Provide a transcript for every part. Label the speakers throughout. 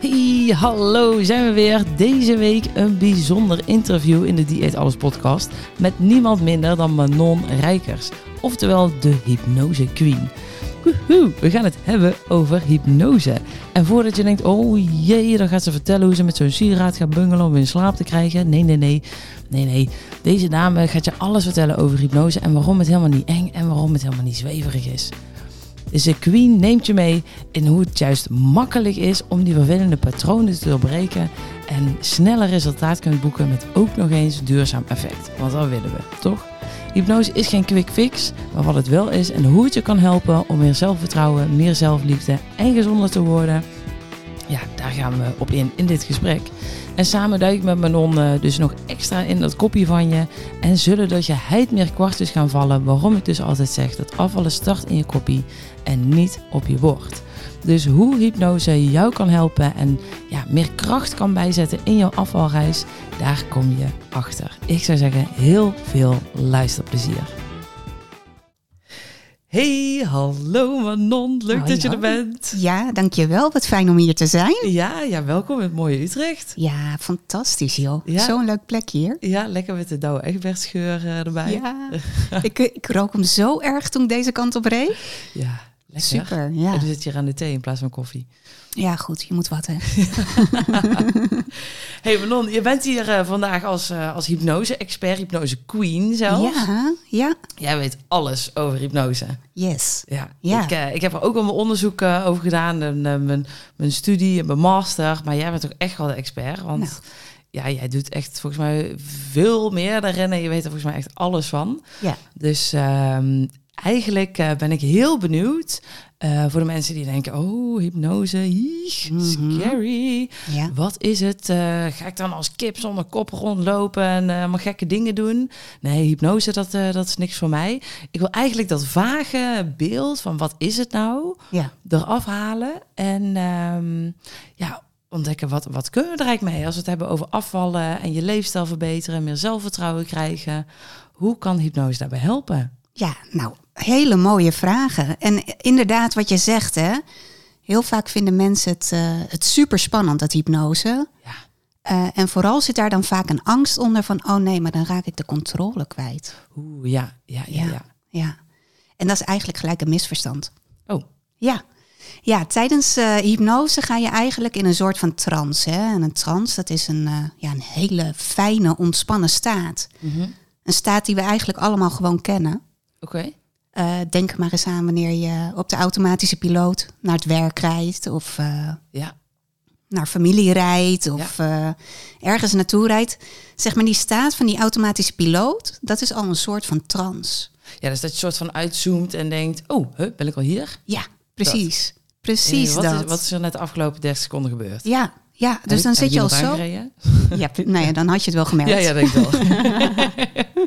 Speaker 1: Hey, hallo, zijn we weer. Deze week een bijzonder interview in de Dieet Alles podcast met niemand minder dan Manon Rijkers, oftewel de hypnose queen. Woehoe, we gaan het hebben over hypnose. En voordat je denkt, oh jee, dan gaat ze vertellen hoe ze met zo'n sieraad gaat bungelen om in slaap te krijgen. Nee, nee, nee. Nee, nee. Deze dame gaat je alles vertellen over hypnose en waarom het helemaal niet eng en waarom het helemaal niet zweverig is. Dus de Queen neemt je mee in hoe het juist makkelijk is om die vervelende patronen te doorbreken en sneller resultaat kunt boeken met ook nog eens duurzaam effect. Want dat willen we, toch? Hypnose is geen quick fix, maar wat het wel is en hoe het je kan helpen om meer zelfvertrouwen, meer zelfliefde en gezonder te worden. Ja, daar gaan we op in in dit gesprek. En samen duik ik met Manon eh, dus nog extra in dat kopje van je. En zullen dat je heid meer kwartjes gaan vallen. Waarom ik dus altijd zeg dat afvallen start in je kopie en niet op je bord. Dus hoe hypnose jou kan helpen en ja, meer kracht kan bijzetten in jouw afvalreis, daar kom je achter. Ik zou zeggen, heel veel luisterplezier. Hey, hallo Manon, leuk
Speaker 2: Hoi,
Speaker 1: dat je er
Speaker 2: hoi.
Speaker 1: bent.
Speaker 2: Ja, dankjewel. Wat fijn om hier te zijn.
Speaker 1: Ja, ja, welkom in het mooie Utrecht.
Speaker 2: Ja, fantastisch joh.
Speaker 1: Ja.
Speaker 2: Zo'n leuk plek hier.
Speaker 1: Ja, lekker met de Douwe Egbertscheur eh, erbij.
Speaker 2: Ja, ik, ik rook hem zo erg toen ik deze kant op reed.
Speaker 1: Ja, lekker.
Speaker 2: Super,
Speaker 1: En
Speaker 2: ja.
Speaker 1: dan zit je hier aan de thee in plaats van koffie.
Speaker 2: Ja, goed, je moet wat hè.
Speaker 1: hey Manon, je bent hier eh, vandaag als, eh, als hypnose-expert, hypnose-queen zelfs.
Speaker 2: Ja, ja,
Speaker 1: Jij weet alles over hypnose.
Speaker 2: yes.
Speaker 1: Ja,
Speaker 2: Ja.
Speaker 1: Ik, eh, ik heb er ook al mijn onderzoek eh, over gedaan, en, eh, mijn, mijn studie en mijn master. Maar jij bent ook echt wel de expert, want
Speaker 2: Nou.
Speaker 1: ja, jij doet echt volgens mij veel meer dan rennen. Je weet er volgens mij echt alles van.
Speaker 2: Ja.
Speaker 1: Dus ehm, eigenlijk eh, ben ik heel benieuwd eh, voor de mensen die denken, oh, hypnose, eeg,
Speaker 2: Mhm.
Speaker 1: scary.
Speaker 2: Ja.
Speaker 1: Wat is het? Eh, ga ik dan als kip zonder kop rondlopen en eh allemaal gekke dingen doen? Nee, hypnose, dat, eh, dat is niks voor mij. Ik wil eigenlijk dat vage beeld van wat is het nou
Speaker 2: ja,
Speaker 1: eraf halen. En ehm, ja, ontdekken wat, wat kunnen we er eigenlijk mee? Als we het hebben over afvallen en je leefstijl verbeteren, meer zelfvertrouwen krijgen. Hoe kan hypnose daarbij helpen?
Speaker 2: ja, nou, hele mooie vragen. En inderdaad wat je zegt hè. Heel vaak vinden mensen het, eh, het super spannend, dat hypnose.
Speaker 1: Ja,
Speaker 2: Eh, en vooral zit daar dan vaak een angst onder van, oh nee, maar dan raak ik de controle kwijt.
Speaker 1: Oeh, ja, ja, ja, ja.
Speaker 2: ja. En dat is eigenlijk gelijk een misverstand.
Speaker 1: Oh,
Speaker 2: Ja. Ja, tijdens eh, hypnose ga je eigenlijk in een soort van trance. Hè? En een trance, dat is een, eh, ja, een hele fijne, ontspannen staat. Een staat die we eigenlijk allemaal gewoon kennen.
Speaker 1: oké.
Speaker 2: Eh, denk maar eens aan wanneer je op de automatische piloot naar het werk rijdt... of eh,
Speaker 1: Ja,
Speaker 2: naar familie rijdt of eh, ergens naartoe rijdt. Zeg maar, die staat van die automatische piloot, dat is al een soort van trance.
Speaker 1: Ja, dus dat je soort van uitzoomt en denkt, oh, huh, ben ik al hier?
Speaker 2: Ja, precies. Precies
Speaker 1: Eh, wat,
Speaker 2: dat.
Speaker 1: Is, wat is er net de afgelopen 30 seconden gebeurd?
Speaker 2: Ja, ja, dus dan zit je al zo... Ja, pre- nou ja, dan had je het wel gemerkt.
Speaker 1: Ja, ja, denk ik wel.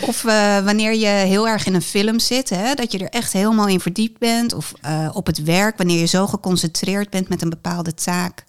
Speaker 2: Of eh, wanneer je heel erg in een film zit, hè, dat je er echt helemaal in verdiept bent. Of eh, op het werk, wanneer je zo geconcentreerd bent met een bepaalde taak,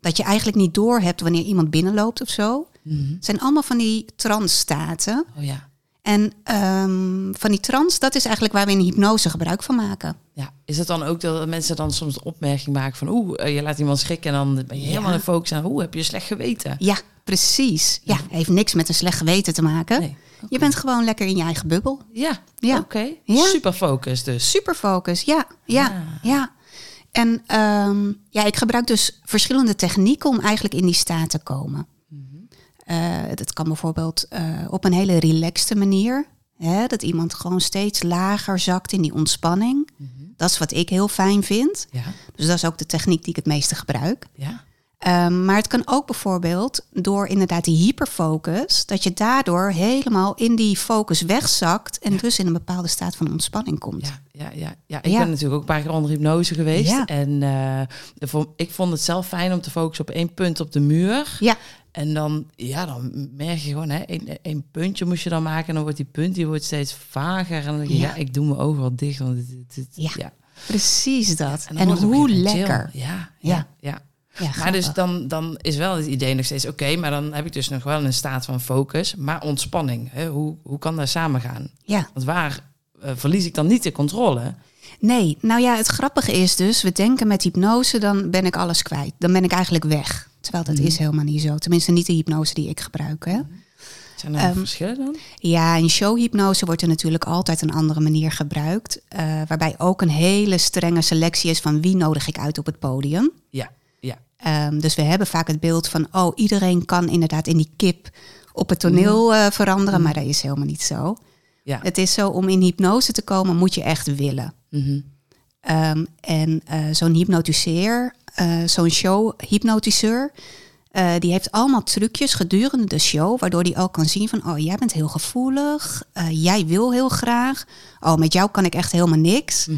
Speaker 2: dat je eigenlijk niet doorhebt wanneer iemand binnenloopt of zo.
Speaker 1: Mhm.
Speaker 2: Het zijn allemaal van die transstaten.
Speaker 1: Oh ja.
Speaker 2: En ehm, van die trans, dat is eigenlijk waar we in hypnose gebruik van maken.
Speaker 1: ja. Is het dan ook dat mensen dan soms de opmerking maken van, oeh, eh, je laat iemand schrikken en dan ben je helemaal
Speaker 2: Ja.
Speaker 1: in focus aan, oeh, heb je slecht geweten?
Speaker 2: Ja, precies. Ja, heeft niks met een slecht geweten te maken.
Speaker 1: Nee.
Speaker 2: Je bent gewoon lekker in je eigen bubbel.
Speaker 1: Ja,
Speaker 2: Ja.
Speaker 1: oké.
Speaker 2: Ja.
Speaker 1: Super focus dus.
Speaker 2: Superfocus, ja, ja, ja. En ehm, ja, ik gebruik dus verschillende technieken om eigenlijk in die staat te komen. Eh, dat kan bijvoorbeeld eh, op een hele relaxte manier. Hè, dat iemand gewoon steeds lager zakt in die ontspanning. Dat is wat ik heel fijn vind.
Speaker 1: Ja,
Speaker 2: Dus dat is ook de techniek die ik het meeste gebruik.
Speaker 1: ja.
Speaker 2: Ehm, maar het kan ook bijvoorbeeld door inderdaad die hyperfocus, dat je daardoor helemaal in die focus wegzakt en dus in een bepaalde staat van ontspanning komt.
Speaker 1: Ja, ja, ja, ja. Ik
Speaker 2: Ja.
Speaker 1: ben natuurlijk ook een paar keer onder hypnose geweest.
Speaker 2: Ja.
Speaker 1: En eh, vo- ik vond het zelf fijn om te focussen op één punt op de muur.
Speaker 2: Ja,
Speaker 1: En dan, ja, dan merk je gewoon, hè, één, één puntje moest je dan maken. En dan wordt die punt die wordt steeds vager. En dan denk je, ja,
Speaker 2: Ja.
Speaker 1: ik doe mijn ogen wel dicht. Want dit, dit- dit-
Speaker 2: Ja. precies dat.
Speaker 1: dan
Speaker 2: en
Speaker 1: wordt het op een
Speaker 2: hoe
Speaker 1: gegeven moment
Speaker 2: lekker.
Speaker 1: chill. Ja, ja,
Speaker 2: Ja.
Speaker 1: ja.
Speaker 2: Ja,
Speaker 1: Maar dus
Speaker 2: grappig.
Speaker 1: dan, dan is wel het idee nog steeds, oké, maar dan heb ik dus nog wel een staat van focus. Maar ontspanning, hè, hoe, hoe kan dat samen gaan?
Speaker 2: ja.
Speaker 1: Want waar eh, verlies ik dan niet de controle?
Speaker 2: Nee, nou ja, het grappige is dus, we denken met hypnose, dan ben ik alles kwijt. Dan ben ik eigenlijk weg. Terwijl dat
Speaker 1: Mhm.
Speaker 2: is helemaal niet zo. Tenminste, niet de hypnose die ik gebruik. Hè?
Speaker 1: Zijn er
Speaker 2: Ehm,
Speaker 1: verschillen dan?
Speaker 2: Ja, in showhypnose wordt er natuurlijk altijd een andere manier gebruikt. eh, waarbij ook een hele strenge selectie is van wie nodig ik uit op het podium.
Speaker 1: Ja, ja.
Speaker 2: Ehm, dus we hebben vaak het beeld van, oh, iedereen kan inderdaad in die kip op het toneel eh, veranderen. Maar dat is helemaal niet zo.
Speaker 1: ja.
Speaker 2: Het is zo, om in hypnose te komen moet je echt willen.
Speaker 1: Mhm.
Speaker 2: Ehm, en eh, zo'n hypnotiseer, eh, zo'n show-hypnotiseur, eh, die heeft allemaal trucjes gedurende de show, waardoor hij ook kan zien van, oh, jij bent heel gevoelig, eh, jij wil heel graag, oh, met jou kan ik echt helemaal niks.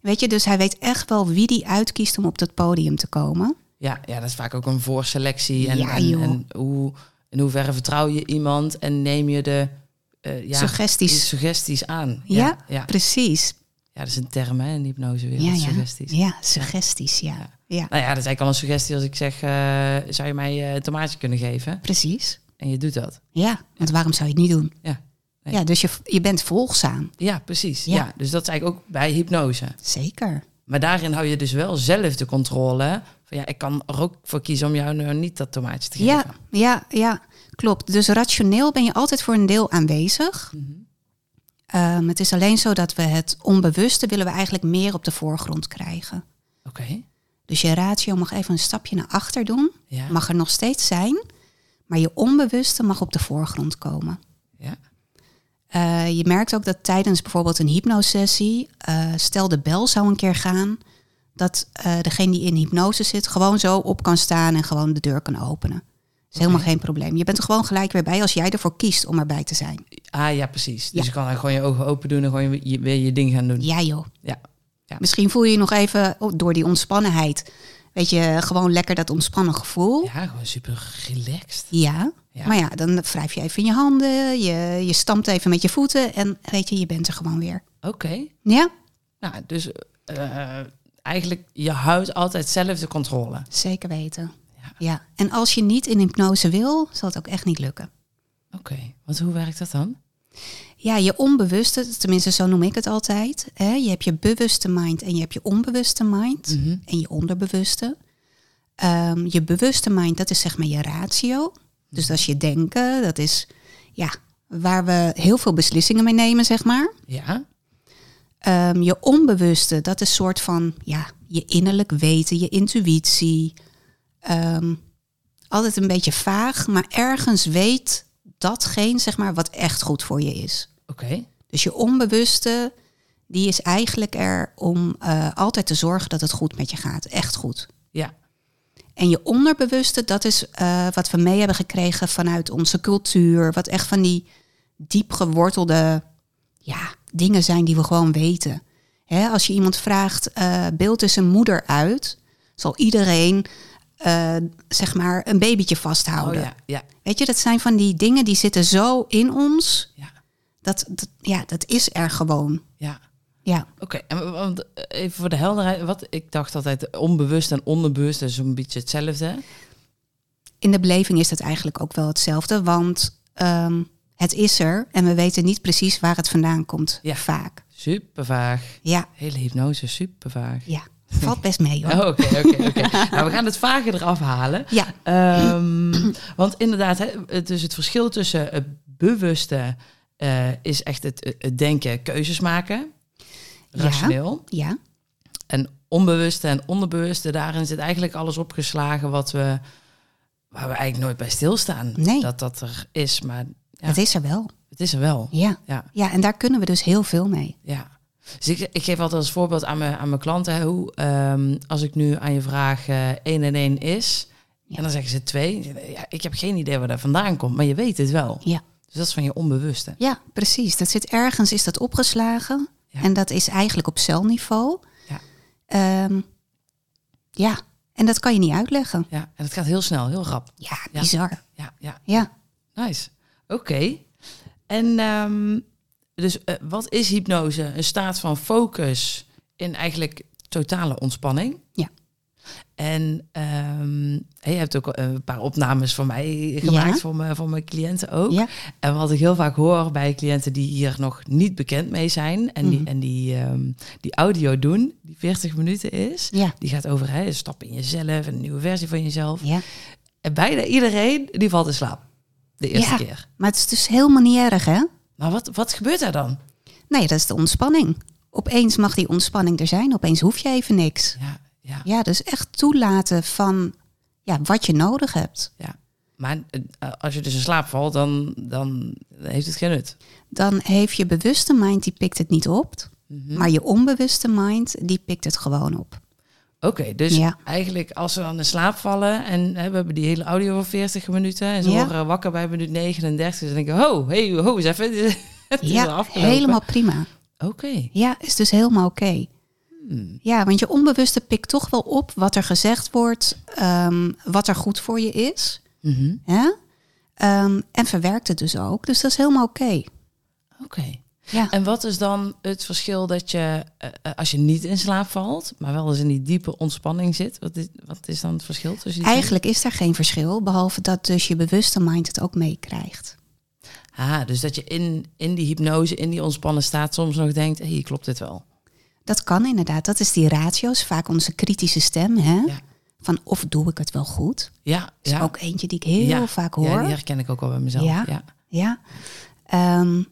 Speaker 2: Weet je, dus hij weet echt wel wie die uitkiest om op dat podium te komen.
Speaker 1: Ja, ja, dat is vaak ook een voorselectie. En,
Speaker 2: Ja,
Speaker 1: en,
Speaker 2: joh.
Speaker 1: en hoe, in hoeverre vertrouw je iemand en neem je de eh, ja,
Speaker 2: Suggesties.
Speaker 1: suggesties aan?
Speaker 2: Ja,
Speaker 1: ja.
Speaker 2: precies.
Speaker 1: Ja, dat is een term hè, in de hypnosewereld,
Speaker 2: ja, ja.
Speaker 1: suggesties.
Speaker 2: Ja, suggesties, ja. Ja,
Speaker 1: Nou ja, dat is eigenlijk al een suggestie als ik zeg, eh, zou je mij eh, een tomaatje kunnen geven?
Speaker 2: precies.
Speaker 1: En je doet dat.
Speaker 2: Ja, want waarom zou je het niet doen?
Speaker 1: Ja, nee.
Speaker 2: Ja, dus je, je bent volgzaam.
Speaker 1: ja precies. Ja.
Speaker 2: Ja.
Speaker 1: dus dat is eigenlijk ook bij hypnose.
Speaker 2: Zeker.
Speaker 1: Maar daarin hou je dus wel zelf de controle. Van ja, ik kan er ook voor kiezen om jou nou niet dat tomaatje te geven.
Speaker 2: Ja, ja, ja, klopt. Dus rationeel ben je altijd voor een deel aanwezig. Ehm, het is alleen zo dat we het onbewuste willen we eigenlijk meer op de voorgrond krijgen.
Speaker 1: Oké.
Speaker 2: Dus je ratio mag even een stapje naar achter doen.
Speaker 1: Ja.
Speaker 2: Mag er nog steeds zijn. Maar je onbewuste mag op de voorgrond komen.
Speaker 1: Ja.
Speaker 2: Eh, je merkt ook dat tijdens bijvoorbeeld een hypnosessie, eh, stel de bel zou een keer gaan, dat eh, degene die in hypnose zit gewoon zo op kan staan en gewoon de deur kan openen. is helemaal geen probleem. Je bent er gewoon gelijk weer bij als jij ervoor kiest om erbij te zijn.
Speaker 1: Ah ja, precies. Dus
Speaker 2: Ja.
Speaker 1: je kan dan gewoon je ogen open doen en gewoon je- je- weer je ding gaan doen.
Speaker 2: Ja joh.
Speaker 1: Ja. Ja.
Speaker 2: Misschien voel je je nog even oh, door die ontspannenheid, weet je, gewoon lekker dat ontspannen gevoel. Ja.
Speaker 1: Ja, gewoon super relaxed. Ja.
Speaker 2: Maar ja, dan wrijf je even in je handen, je, je stampt even met je voeten en weet je, je bent er gewoon weer.
Speaker 1: Oké.
Speaker 2: Ja,
Speaker 1: Nou, dus eh, eigenlijk, je houdt altijd zelf de controle.
Speaker 2: Zeker weten.
Speaker 1: Ja.
Speaker 2: Ja. En als je niet in hypnose wil, zal het ook echt niet lukken.
Speaker 1: Oké, want hoe werkt dat dan?
Speaker 2: Ja, je onbewuste, tenminste zo noem ik het altijd. Hè? Je hebt je bewuste mind en je hebt je onbewuste mind.
Speaker 1: Mhm.
Speaker 2: En je onderbewuste. Ehm, je bewuste mind, dat is zeg maar je ratio. Dus dat is je denken. Dat is ja, waar we heel veel beslissingen mee nemen, zeg maar.
Speaker 1: Ja,
Speaker 2: Ehm, je onbewuste, dat is een soort van ja, je innerlijk weten, je intuïtie. Ehm, altijd een beetje vaag, maar ergens weet datgene zeg maar, wat echt goed voor je is.
Speaker 1: oké.
Speaker 2: Dus je onbewuste, die is eigenlijk er om eh, altijd te zorgen dat het goed met je gaat. Echt goed.
Speaker 1: Ja,
Speaker 2: En je onderbewuste, dat is eh, wat we mee hebben gekregen vanuit onze cultuur. Wat echt van die diep gewortelde ja, dingen zijn die we gewoon weten. Hè, als je iemand vraagt, eh, beeld eens een moeder uit, zal iedereen eh, zeg maar een babytje
Speaker 1: oh
Speaker 2: vasthouden.
Speaker 1: ja, ja,
Speaker 2: Weet je, dat zijn van die dingen die zitten zo in ons.
Speaker 1: ja,
Speaker 2: Dat, dat, ja, dat is er gewoon.
Speaker 1: ja.
Speaker 2: Ja.
Speaker 1: Oké, en want, eh, even voor de helderheid, wat ik dacht altijd onbewust en onderbewust is een beetje hetzelfde.
Speaker 2: in de beleving is dat eigenlijk ook wel hetzelfde, want ehm, het is er en we weten niet precies waar het vandaan komt.
Speaker 1: Ja.
Speaker 2: Vaak.
Speaker 1: Super vaag.
Speaker 2: Ja,
Speaker 1: Hele hypnose, super vaag.
Speaker 2: ja. Valt best mee hoor.
Speaker 1: Oh, Oké, oké, oké. Nou, we gaan het vage eraf halen.
Speaker 2: Ja,
Speaker 1: Ehm, want inderdaad, hè, het- dus het verschil tussen het bewuste eh, is echt het, het denken, keuzes maken,
Speaker 2: Ja.
Speaker 1: rationeel.
Speaker 2: ja,
Speaker 1: En onbewuste en onderbewuste, daarin zit eigenlijk alles opgeslagen wat we, waar we eigenlijk nooit bij stilstaan.
Speaker 2: Nee.
Speaker 1: Dat dat er is, maar Ja.
Speaker 2: het is er wel.
Speaker 1: het is er wel.
Speaker 2: Ja.
Speaker 1: Ja,
Speaker 2: ja, en daar kunnen we dus heel veel mee.
Speaker 1: ja. Dus ik, ik geef altijd als voorbeeld aan mijn, aan mijn klanten, hè, hoe, ehm, als ik nu aan je vraag eh 1 en 1 is,
Speaker 2: Ja.
Speaker 1: en dan zeggen ze 2, ja, ik heb geen idee waar dat vandaan komt, maar je weet het wel.
Speaker 2: Ja,
Speaker 1: Dus dat is van je onbewuste.
Speaker 2: ja precies. Dat zit ergens, is dat opgeslagen.
Speaker 1: Ja.
Speaker 2: En dat is eigenlijk op celniveau.
Speaker 1: Ja.
Speaker 2: Ehm, ja, en dat kan je niet uitleggen.
Speaker 1: Ja, en het gaat heel snel, heel rap.
Speaker 2: Ja,
Speaker 1: Ja.
Speaker 2: bizar.
Speaker 1: Ja, ja,
Speaker 2: Ja.
Speaker 1: nice. Oké. En ehm, dus eh, wat is hypnose? Een staat van focus in eigenlijk totale ontspanning.
Speaker 2: Ja.
Speaker 1: En ehm, je hebt ook een paar opnames van mij gemaakt,
Speaker 2: Ja.
Speaker 1: voor, mijn, voor mijn cliënten ook.
Speaker 2: Ja.
Speaker 1: En wat ik heel vaak hoor bij cliënten die hier nog niet bekend mee zijn en die,
Speaker 2: Mhm.
Speaker 1: en die, ehm, die audio doen, die 40 minuten is,
Speaker 2: Ja.
Speaker 1: die gaat over hè, stappen in jezelf, een nieuwe versie van jezelf.
Speaker 2: ja.
Speaker 1: En bijna iedereen die valt in slaap de eerste
Speaker 2: Ja.
Speaker 1: keer.
Speaker 2: Maar het is dus helemaal niet erg, hè?
Speaker 1: Maar wat, wat gebeurt er dan?
Speaker 2: Nee, dat is de ontspanning. Opeens mag die ontspanning er zijn, opeens hoef je even niks.
Speaker 1: Ja, ja,
Speaker 2: Ja, dus echt toelaten van ja, wat je nodig hebt.
Speaker 1: ja. Maar eh, als je dus in slaap valt, dan, dan heeft het geen nut.
Speaker 2: Dan heeft je bewuste mind, die pikt het niet op.
Speaker 1: Mhm.
Speaker 2: Maar je onbewuste mind, die pikt het gewoon op.
Speaker 1: Oké, dus
Speaker 2: Ja.
Speaker 1: eigenlijk als we dan in slaap vallen en hè, we hebben die hele audio van 40 minuten en ze
Speaker 2: Ja.
Speaker 1: worden wakker bij minuut 39, dan denken we, ho, hey, ho, eens even, het is al
Speaker 2: ja,
Speaker 1: afgelopen.
Speaker 2: helemaal prima.
Speaker 1: Oké,
Speaker 2: Ja, is dus helemaal oké.
Speaker 1: Hmm.
Speaker 2: Ja, want je onbewuste pikt toch wel op wat er gezegd wordt, ehm, wat er goed voor je is.
Speaker 1: Mhm.
Speaker 2: Hè? Ehm, en verwerkt het dus ook. Dus dat is helemaal oké.
Speaker 1: oké.
Speaker 2: Ja.
Speaker 1: En wat is dan het verschil dat je, eh, eh, als je niet in slaap valt, maar wel eens in die diepe ontspanning zit, wat is, wat is dan het verschil tussen die twee?
Speaker 2: Eigenlijk is daar geen verschil, behalve dat dus je bewuste mind het ook meekrijgt.
Speaker 1: Ah, dus dat je in, in die hypnose, in die ontspannen staat, soms nog denkt, hé, hey, klopt dit wel?
Speaker 2: Dat kan inderdaad. Dat is die ratio, is vaak onze kritische stem. Hè?
Speaker 1: Ja.
Speaker 2: Van of doe ik het wel goed?
Speaker 1: Ja,
Speaker 2: Dat Hm? is
Speaker 1: ja.
Speaker 2: ook eentje die ik heel
Speaker 1: ja.
Speaker 2: vaak
Speaker 1: Ja,
Speaker 2: hoor.
Speaker 1: die herken ik ook wel bij mezelf.
Speaker 2: Ja.
Speaker 1: ja.
Speaker 2: Ja. Ehm,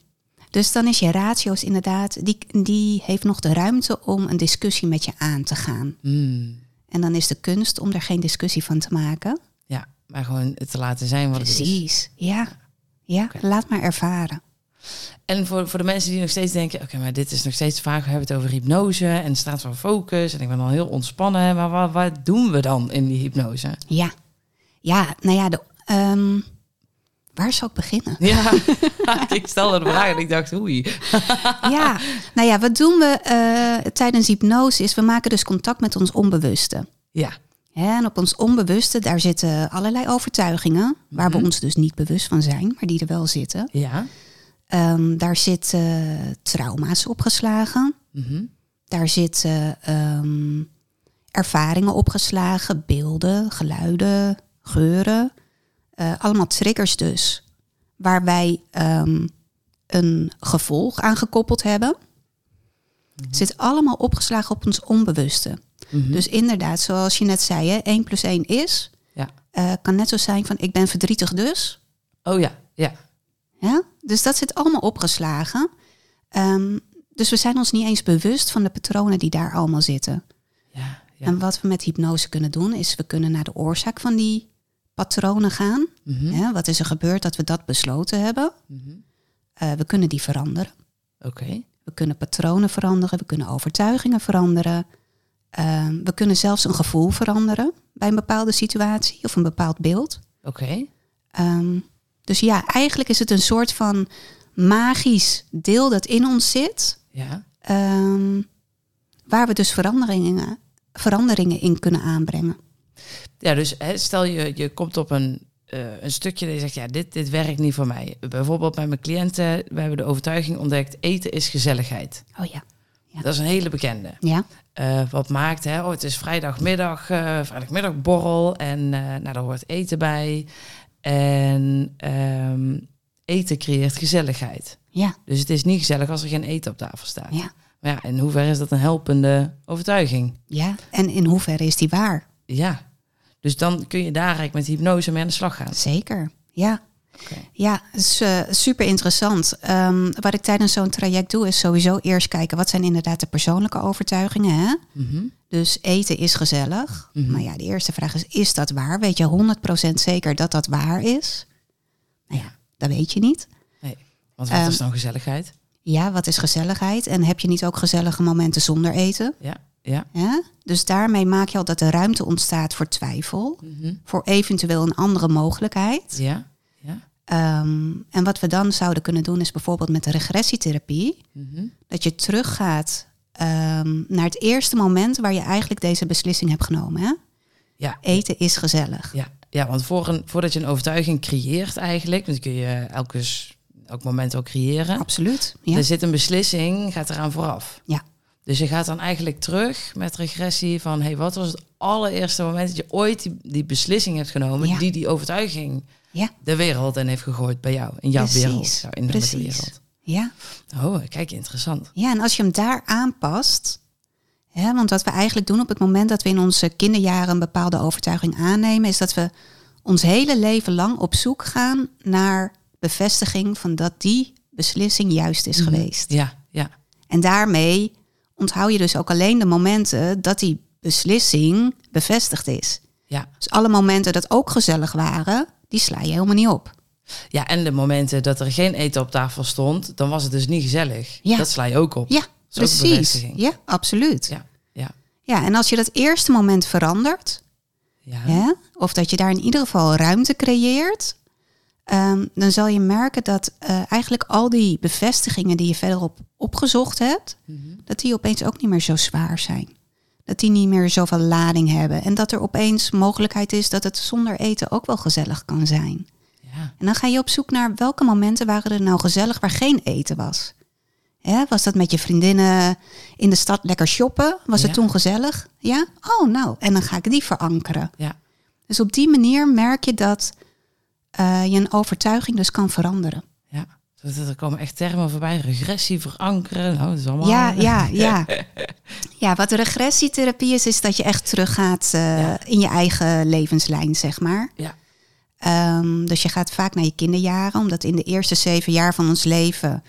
Speaker 2: dus dan is je ratio's inderdaad, die, die heeft nog de ruimte om een discussie met je aan te gaan.
Speaker 1: Hmm.
Speaker 2: En dan is de kunst om er geen discussie van te maken.
Speaker 1: Ja, maar gewoon het te laten zijn wat het is.
Speaker 2: Precies, ja. Ja, laat maar ervaren.
Speaker 1: En voor, voor de mensen die nog steeds denken, oké, maar dit is nog steeds vaag. We hebben het over hypnose en het staat van focus. En ik ben al heel ontspannen. Maar wat, wat doen we dan in die hypnose?
Speaker 2: Ja. Ja, nou ja, de, ehm, waar zou ik beginnen?
Speaker 1: Ja, ik stelde de vraag en ik dacht, oei.
Speaker 2: ja, nou ja, wat doen we eh, tijdens hypnose is, we maken dus contact met ons onbewuste.
Speaker 1: Ja,
Speaker 2: Hè, En op ons onbewuste, daar zitten allerlei overtuigingen, waar we ons dus niet bewust van zijn, maar die er wel zitten.
Speaker 1: ja.
Speaker 2: Ehm, daar zitten eh, trauma's opgeslagen.
Speaker 1: Mhm.
Speaker 2: Daar zitten ehm, ervaringen opgeslagen, beelden, geluiden, geuren. Eh, allemaal triggers dus, waar wij ehm, een gevolg aan gekoppeld hebben. Zit allemaal opgeslagen op ons onbewuste.
Speaker 1: Mhm.
Speaker 2: Dus inderdaad, zoals je net zei, hè, 1 plus 1 is.
Speaker 1: ja.
Speaker 2: eh, kan net zo zijn van ik ben verdrietig dus.
Speaker 1: Oh ja, ja.
Speaker 2: Ja? Dus dat zit allemaal opgeslagen. Ehm, dus we zijn ons niet eens bewust van de patronen die daar allemaal zitten.
Speaker 1: ja, ja.
Speaker 2: En wat we met hypnose kunnen doen, is we kunnen naar de oorzaak van die patronen gaan.
Speaker 1: Mhm.
Speaker 2: Ja, wat is er gebeurd dat we dat besloten hebben?
Speaker 1: Mhm.
Speaker 2: Eh, we kunnen die veranderen.
Speaker 1: Oké.
Speaker 2: We kunnen patronen veranderen, we kunnen overtuigingen veranderen. Ehm, we kunnen zelfs een gevoel veranderen bij een bepaalde situatie of een bepaald beeld.
Speaker 1: Oké.
Speaker 2: Ehm, dus ja, eigenlijk is het een soort van magisch deel dat in ons zit,
Speaker 1: Ja.
Speaker 2: ehm, waar we dus veranderingen, veranderingen in kunnen aanbrengen.
Speaker 1: Ja, dus hè, stel je, je komt op een, eh, een stukje dat je zegt, ja, dit, dit werkt niet voor mij. Bijvoorbeeld bij mijn cliënten, we hebben de overtuiging ontdekt, eten is gezelligheid.
Speaker 2: Oh ja. Ja.
Speaker 1: Dat is een hele bekende.
Speaker 2: Ja,
Speaker 1: Eh, wat maakt, hè, oh, het is vrijdagmiddag, eh vrijdagmiddagborrel en eh, nou, daar hoort eten bij. En ehm, eten creëert gezelligheid.
Speaker 2: ja,
Speaker 1: Dus het is niet gezellig als er geen eten op tafel staat.
Speaker 2: ja,
Speaker 1: Maar ja, in hoeverre is dat een helpende overtuiging?
Speaker 2: ja. En in hoeverre is die waar?
Speaker 1: Ja. Dus dan kun je daar eigenlijk met hypnose mee aan de slag gaan.
Speaker 2: Zeker, ja.
Speaker 1: Oké.
Speaker 2: Ja, is, eh, super interessant. Ehm, wat ik tijdens zo'n traject doe, is sowieso eerst kijken wat zijn inderdaad de persoonlijke overtuigingen. Hè?
Speaker 1: Mhm.
Speaker 2: Dus eten is gezellig.
Speaker 1: Mhm.
Speaker 2: Maar ja, de eerste vraag is, is dat waar? Weet je 100% zeker dat dat waar is? Nou ja, dat weet je niet.
Speaker 1: Want wat
Speaker 2: Ehm,
Speaker 1: is dan gezelligheid?
Speaker 2: Ja, wat is gezelligheid? En heb je niet ook gezellige momenten zonder eten?
Speaker 1: Ja, ja.
Speaker 2: Hè? Dus daarmee maak je al dat er ruimte ontstaat voor twijfel. Voor eventueel een andere mogelijkheid.
Speaker 1: Ja, ja.
Speaker 2: Ehm, en wat we dan zouden kunnen doen is bijvoorbeeld met de regressietherapie. Dat je teruggaat ehm, naar het eerste moment waar je eigenlijk deze beslissing hebt genomen. Hè?
Speaker 1: ja.
Speaker 2: Eten is gezellig.
Speaker 1: Ja, ja want voor een, voordat je een overtuiging creëert eigenlijk, want die kun je elke, s- elk moment ook creëren,
Speaker 2: Absoluut. Ja.
Speaker 1: Dus- er zit een beslissing, gaat eraan vooraf.
Speaker 2: Ja.
Speaker 1: Dus je gaat dan eigenlijk terug met regressie van... hey, wat was het allereerste moment dat je ooit die, die beslissing hebt genomen...
Speaker 2: Ja.
Speaker 1: die die overtuiging
Speaker 2: Ja.
Speaker 1: de wereld in heeft gegooid bij jou. In jouw
Speaker 2: Precies,
Speaker 1: wereld, jouw innerlijke
Speaker 2: precies.
Speaker 1: wereld.
Speaker 2: Ja.
Speaker 1: Oh, kijk, interessant.
Speaker 2: Ja, en als je hem daar aanpast. Hè, want wat we eigenlijk doen op het moment dat we in onze kinderjaren een bepaalde overtuiging aannemen, is dat we ons hele leven lang op zoek gaan naar bevestiging van dat die beslissing juist is geweest.
Speaker 1: Ja, ja.
Speaker 2: En daarmee onthoud je dus ook alleen de momenten dat die beslissing bevestigd is.
Speaker 1: Ja.
Speaker 2: Dus alle momenten dat ook gezellig waren, die sla je helemaal niet op.
Speaker 1: ja, en de momenten dat er geen eten op tafel stond, dan was het dus niet gezellig.
Speaker 2: Ja.
Speaker 1: Dat sla je ook op.
Speaker 2: Ja,
Speaker 1: is ook een
Speaker 2: precies.
Speaker 1: bevestiging.
Speaker 2: Ja, absoluut.
Speaker 1: Ja, ja.
Speaker 2: ja, en als je dat eerste moment verandert,
Speaker 1: ja.
Speaker 2: Hè? Of dat je daar in ieder geval ruimte creëert. Ehm, dan zal je merken dat eh, eigenlijk al die bevestigingen die je verderop opgezocht hebt,
Speaker 1: Mhm.
Speaker 2: dat die opeens ook niet meer zo zwaar zijn. Dat die niet meer zoveel lading hebben. En dat er opeens mogelijkheid is dat het zonder eten ook wel gezellig kan zijn.
Speaker 1: ja.
Speaker 2: En dan ga je op zoek naar welke momenten waren er nou gezellig waar geen eten was. Hè, was dat met je vriendinnen in de stad lekker shoppen? Was
Speaker 1: Ja.
Speaker 2: het toen gezellig? Ja? Oh, nou. En dan ga ik die verankeren.
Speaker 1: ja.
Speaker 2: Dus op die manier merk je dat eh, je een overtuiging dus kan veranderen.
Speaker 1: Ja, Dus er komen echt termen voorbij. Regressie, verankeren. Nou, dat is allemaal...
Speaker 2: Ja, ja, ja. Ja, wat regressietherapie is, is dat je echt teruggaat eh,
Speaker 1: Ja.
Speaker 2: in je eigen levenslijn, zeg maar.
Speaker 1: Ja.
Speaker 2: Ehm, dus je gaat vaak naar je kinderjaren, omdat in de eerste zeven jaar van ons leven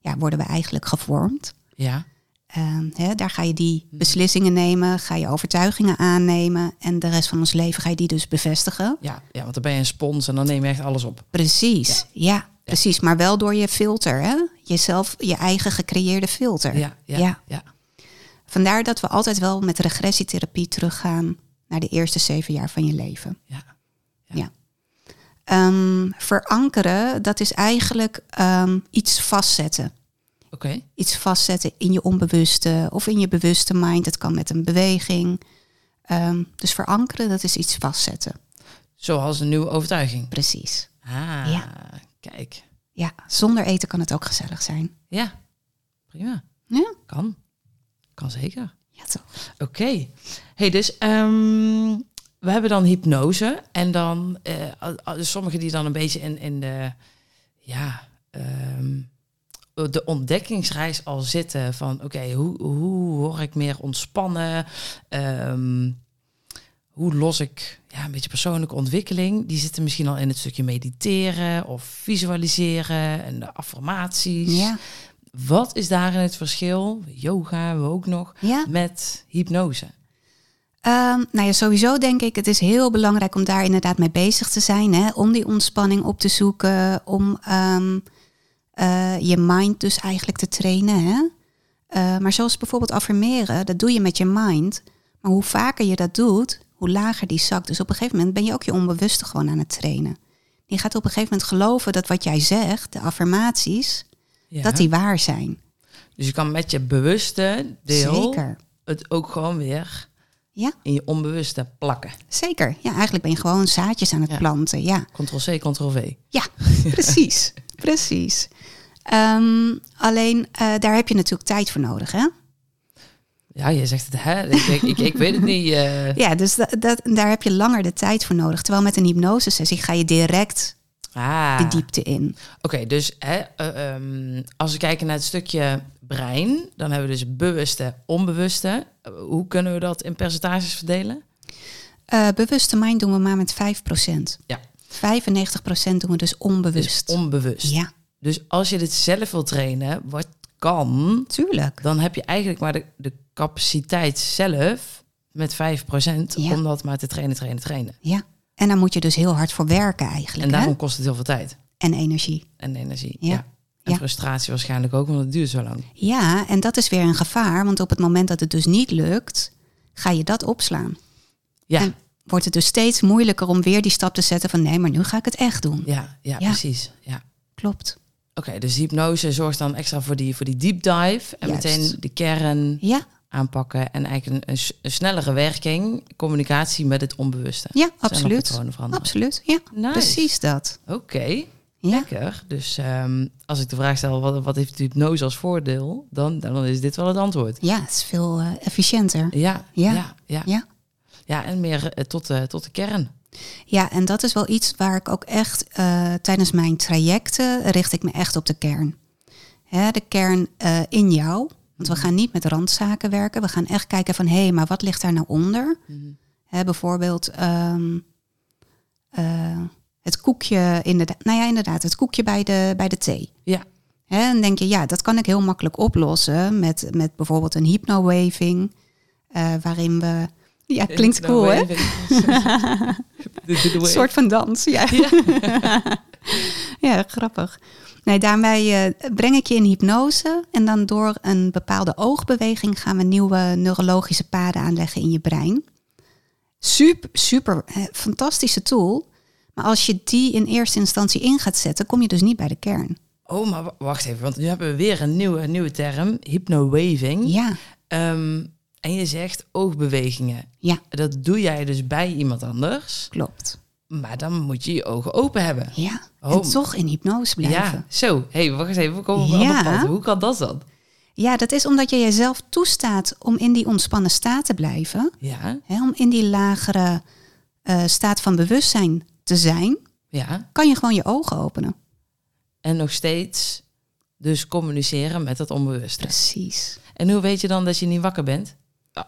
Speaker 2: ja, worden we eigenlijk gevormd.
Speaker 1: Ja,
Speaker 2: Ehm, hè, daar ga je die beslissingen nemen, ga je overtuigingen aannemen en de rest van ons leven ga je die dus bevestigen.
Speaker 1: ja, ja, want dan ben je een spons en dan neem je echt alles op.
Speaker 2: Precies, ja. Precies, maar wel door je filter, hè? Jezelf, je eigen gecreëerde filter.
Speaker 1: Ja, ja, ja.
Speaker 2: Ja.
Speaker 1: ja.
Speaker 2: Vandaar dat we altijd wel met regressietherapie teruggaan naar de eerste zeven jaar van je leven. Ehm, verankeren, dat is eigenlijk ehm, iets vastzetten.
Speaker 1: Oké,
Speaker 2: Iets vastzetten in je onbewuste of in je bewuste mind. Het kan met een beweging. Ehm, dus verankeren, dat is iets vastzetten.
Speaker 1: zoals een nieuwe overtuiging.
Speaker 2: Precies.
Speaker 1: Ah,
Speaker 2: Ja.
Speaker 1: kijk.
Speaker 2: Ja, zonder eten kan het ook gezellig zijn.
Speaker 1: Ja, prima.
Speaker 2: Ja,
Speaker 1: Kan. Kan zeker.
Speaker 2: ja toch?
Speaker 1: Oké. hey, dus ehm, we hebben dan hypnose. En dan eh, al- al- sommigen die dan een beetje in, in de, ja, ehm, de ontdekkingsreis al zitten. Van oké, hoe, hoe word ik meer ontspannen? Ehm, hoe los ik ja, een beetje persoonlijke ontwikkeling? Die zitten misschien al in het stukje mediteren of visualiseren en de affirmaties.
Speaker 2: Ja.
Speaker 1: Wat is daarin het verschil? Yoga hebben we ook nog
Speaker 2: ja.
Speaker 1: met hypnose.
Speaker 2: Ehm, nou ja, sowieso denk ik, het is heel belangrijk om daar inderdaad mee bezig te zijn. Hè? Om die ontspanning op te zoeken, om ehm, eh, je mind dus eigenlijk te trainen. Hè? Eh, maar zoals bijvoorbeeld affirmeren, dat doe je met je mind. Maar hoe vaker je dat doet, hoe lager die zakt. Dus op een gegeven moment ben je ook je onbewuste gewoon aan het trainen. Je gaat op een gegeven moment geloven dat wat jij zegt, de affirmaties,
Speaker 1: Ja.
Speaker 2: dat die waar zijn.
Speaker 1: Dus je kan met je bewuste deel
Speaker 2: Zeker.
Speaker 1: het ook gewoon weer
Speaker 2: Ja,
Speaker 1: in je onbewuste plakken.
Speaker 2: zeker. Ja, eigenlijk ben je gewoon zaadjes aan het
Speaker 1: Ja.
Speaker 2: planten. Ja.
Speaker 1: Ctrl-C, Ctrl-V.
Speaker 2: Ja, precies. precies. Ehm, alleen eh, daar heb je natuurlijk tijd voor nodig. Hè?
Speaker 1: Ja, je zegt het, hè? Ik, denk, ik, ik weet het niet. eh.
Speaker 2: Ja, dus da- dat, daar heb je langer de tijd voor nodig. Terwijl met een hypnosesessie ga je direct
Speaker 1: Ah.
Speaker 2: de
Speaker 1: Oké,
Speaker 2: diepte in.
Speaker 1: dus hè, eh, ehm, als we kijken naar het stukje brein, dan hebben we dus bewuste, onbewuste. Eh, Hoe kunnen we dat in percentages verdelen?
Speaker 2: Eh, bewuste mind doen we maar met 5%.
Speaker 1: Ja.
Speaker 2: 95% doen we dus
Speaker 1: Dus
Speaker 2: onbewust.
Speaker 1: onbewust.
Speaker 2: ja,
Speaker 1: Dus als je dit zelf wil trainen, wat kan,
Speaker 2: tuurlijk.
Speaker 1: dan heb je eigenlijk maar de, de capaciteit zelf met 5%
Speaker 2: Ja.
Speaker 1: om dat maar te trainen, trainen, trainen.
Speaker 2: Ja. En daar moet je dus heel hard voor werken eigenlijk.
Speaker 1: En
Speaker 2: hè?
Speaker 1: daarom kost het heel veel tijd
Speaker 2: en energie.
Speaker 1: en energie. Ja.
Speaker 2: Ja.
Speaker 1: En
Speaker 2: Ja.
Speaker 1: frustratie waarschijnlijk ook, want het duurt zo lang.
Speaker 2: Ja, en dat is weer een gevaar. Want op het moment dat het dus niet lukt, ga je dat opslaan.
Speaker 1: Ja,
Speaker 2: En wordt het dus steeds moeilijker om weer die stap te zetten van nee, maar nu ga ik het echt doen.
Speaker 1: ja, ja,
Speaker 2: Ja.
Speaker 1: precies. Ja.
Speaker 2: Klopt.
Speaker 1: Oké, dus hypnose zorgt dan extra voor die, voor die deep dive. En
Speaker 2: Juist.
Speaker 1: meteen de kern
Speaker 2: Ja,
Speaker 1: aanpakken. En eigenlijk een, een, s- een snellere werking, communicatie met het onbewuste.
Speaker 2: ja
Speaker 1: Zijn nog
Speaker 2: absoluut.
Speaker 1: patronen veranderen.
Speaker 2: Absoluut, ja.
Speaker 1: Nice.
Speaker 2: Precies dat.
Speaker 1: Oké.
Speaker 2: Ja.
Speaker 1: Lekker. Dus ehm, als ik de vraag stel, wat, wat heeft hypnose als voordeel? Dan, dan is dit wel het antwoord.
Speaker 2: Ja, het is veel eh, efficiënter.
Speaker 1: Ja, ja,
Speaker 2: Ja.
Speaker 1: ja. ja.
Speaker 2: Ja.
Speaker 1: en meer eh, tot, eh, tot de kern.
Speaker 2: Ja, en dat is wel iets waar ik ook echt eh, tijdens mijn trajecten richt ik me echt op de kern. Hè, de kern eh, in jou. Want we
Speaker 1: Mm.
Speaker 2: gaan niet met randzaken werken. We gaan echt kijken van hé, maar wat ligt daar nou onder? Hè, bijvoorbeeld ehm, eh, het koekje, inderdaad, nou ja, inderdaad, het koekje bij de, bij de thee.
Speaker 1: Ja.
Speaker 2: Hè, en denk je, ja, dat kan ik heel makkelijk oplossen met, met bijvoorbeeld een hypnowaving, eh, waarin we. Ja, klinkt
Speaker 1: Nou
Speaker 2: cool, hè?
Speaker 1: Een
Speaker 2: Een soort van dans, ja. Ja, grappig. Nee, daarmee eh, breng ik je in hypnose en dan door een bepaalde oogbeweging gaan we nieuwe neurologische paden aanleggen in je brein. Super, super eh, fantastische tool. Maar als je die in eerste instantie in gaat zetten, kom je dus niet bij de kern.
Speaker 1: Oh, maar wa- wacht even, want nu hebben we weer een nieuwe, nieuwe term, hypnowaving.
Speaker 2: Ja,
Speaker 1: Ehm, en je zegt oogbewegingen.
Speaker 2: Ja.
Speaker 1: Dat doe jij dus bij iemand anders,
Speaker 2: klopt.
Speaker 1: maar dan moet je je ogen open hebben.
Speaker 2: Ja.
Speaker 1: Oh.
Speaker 2: En toch in hypnose blijven.
Speaker 1: Ja, zo. hey, wacht eens even, we komen op een
Speaker 2: Ja.
Speaker 1: ander pad. Hoe kan dat dan?
Speaker 2: Ja, dat is omdat je jezelf toestaat om in die ontspannen staat te blijven.
Speaker 1: Ja,
Speaker 2: Hè, om in die lagere eh, staat van bewustzijn te zijn,
Speaker 1: ja.
Speaker 2: kan je gewoon je ogen openen.
Speaker 1: En nog steeds dus communiceren met dat onbewuste.
Speaker 2: Precies.
Speaker 1: En hoe weet je dan dat je niet wakker bent?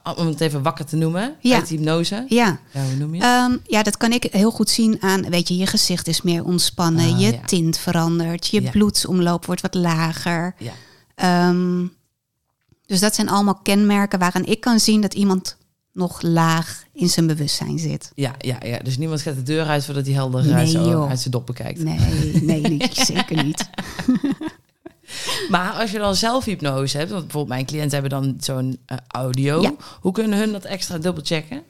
Speaker 1: Ah, Om het even wakker te noemen,
Speaker 2: Ja.
Speaker 1: uit hypnose.
Speaker 2: Ja.
Speaker 1: Ja, hoe noem je het?
Speaker 2: Ehm, ja, dat kan ik heel goed zien aan, weet je, je gezicht is meer ontspannen,
Speaker 1: Ah,
Speaker 2: je
Speaker 1: ja.
Speaker 2: tint verandert, je
Speaker 1: Ja.
Speaker 2: bloedsomloop wordt wat lager.
Speaker 1: Ja.
Speaker 2: Ehm, dus dat zijn allemaal kenmerken waaraan ik kan zien dat iemand nog laag in zijn bewustzijn zit.
Speaker 1: Ja, ja, ja, dus niemand gaat de deur uit voordat hij helder eh,
Speaker 2: Nee,
Speaker 1: zo
Speaker 2: joh.
Speaker 1: uit zijn doppen kijkt.
Speaker 2: Nee, nee, niet, zeker niet.
Speaker 1: Maar als je dan zelf hypnose hebt, want bijvoorbeeld mijn cliënten hebben dan zo'n eh, audio.
Speaker 2: Ja.
Speaker 1: Hoe kunnen hun dat extra dubbelchecken?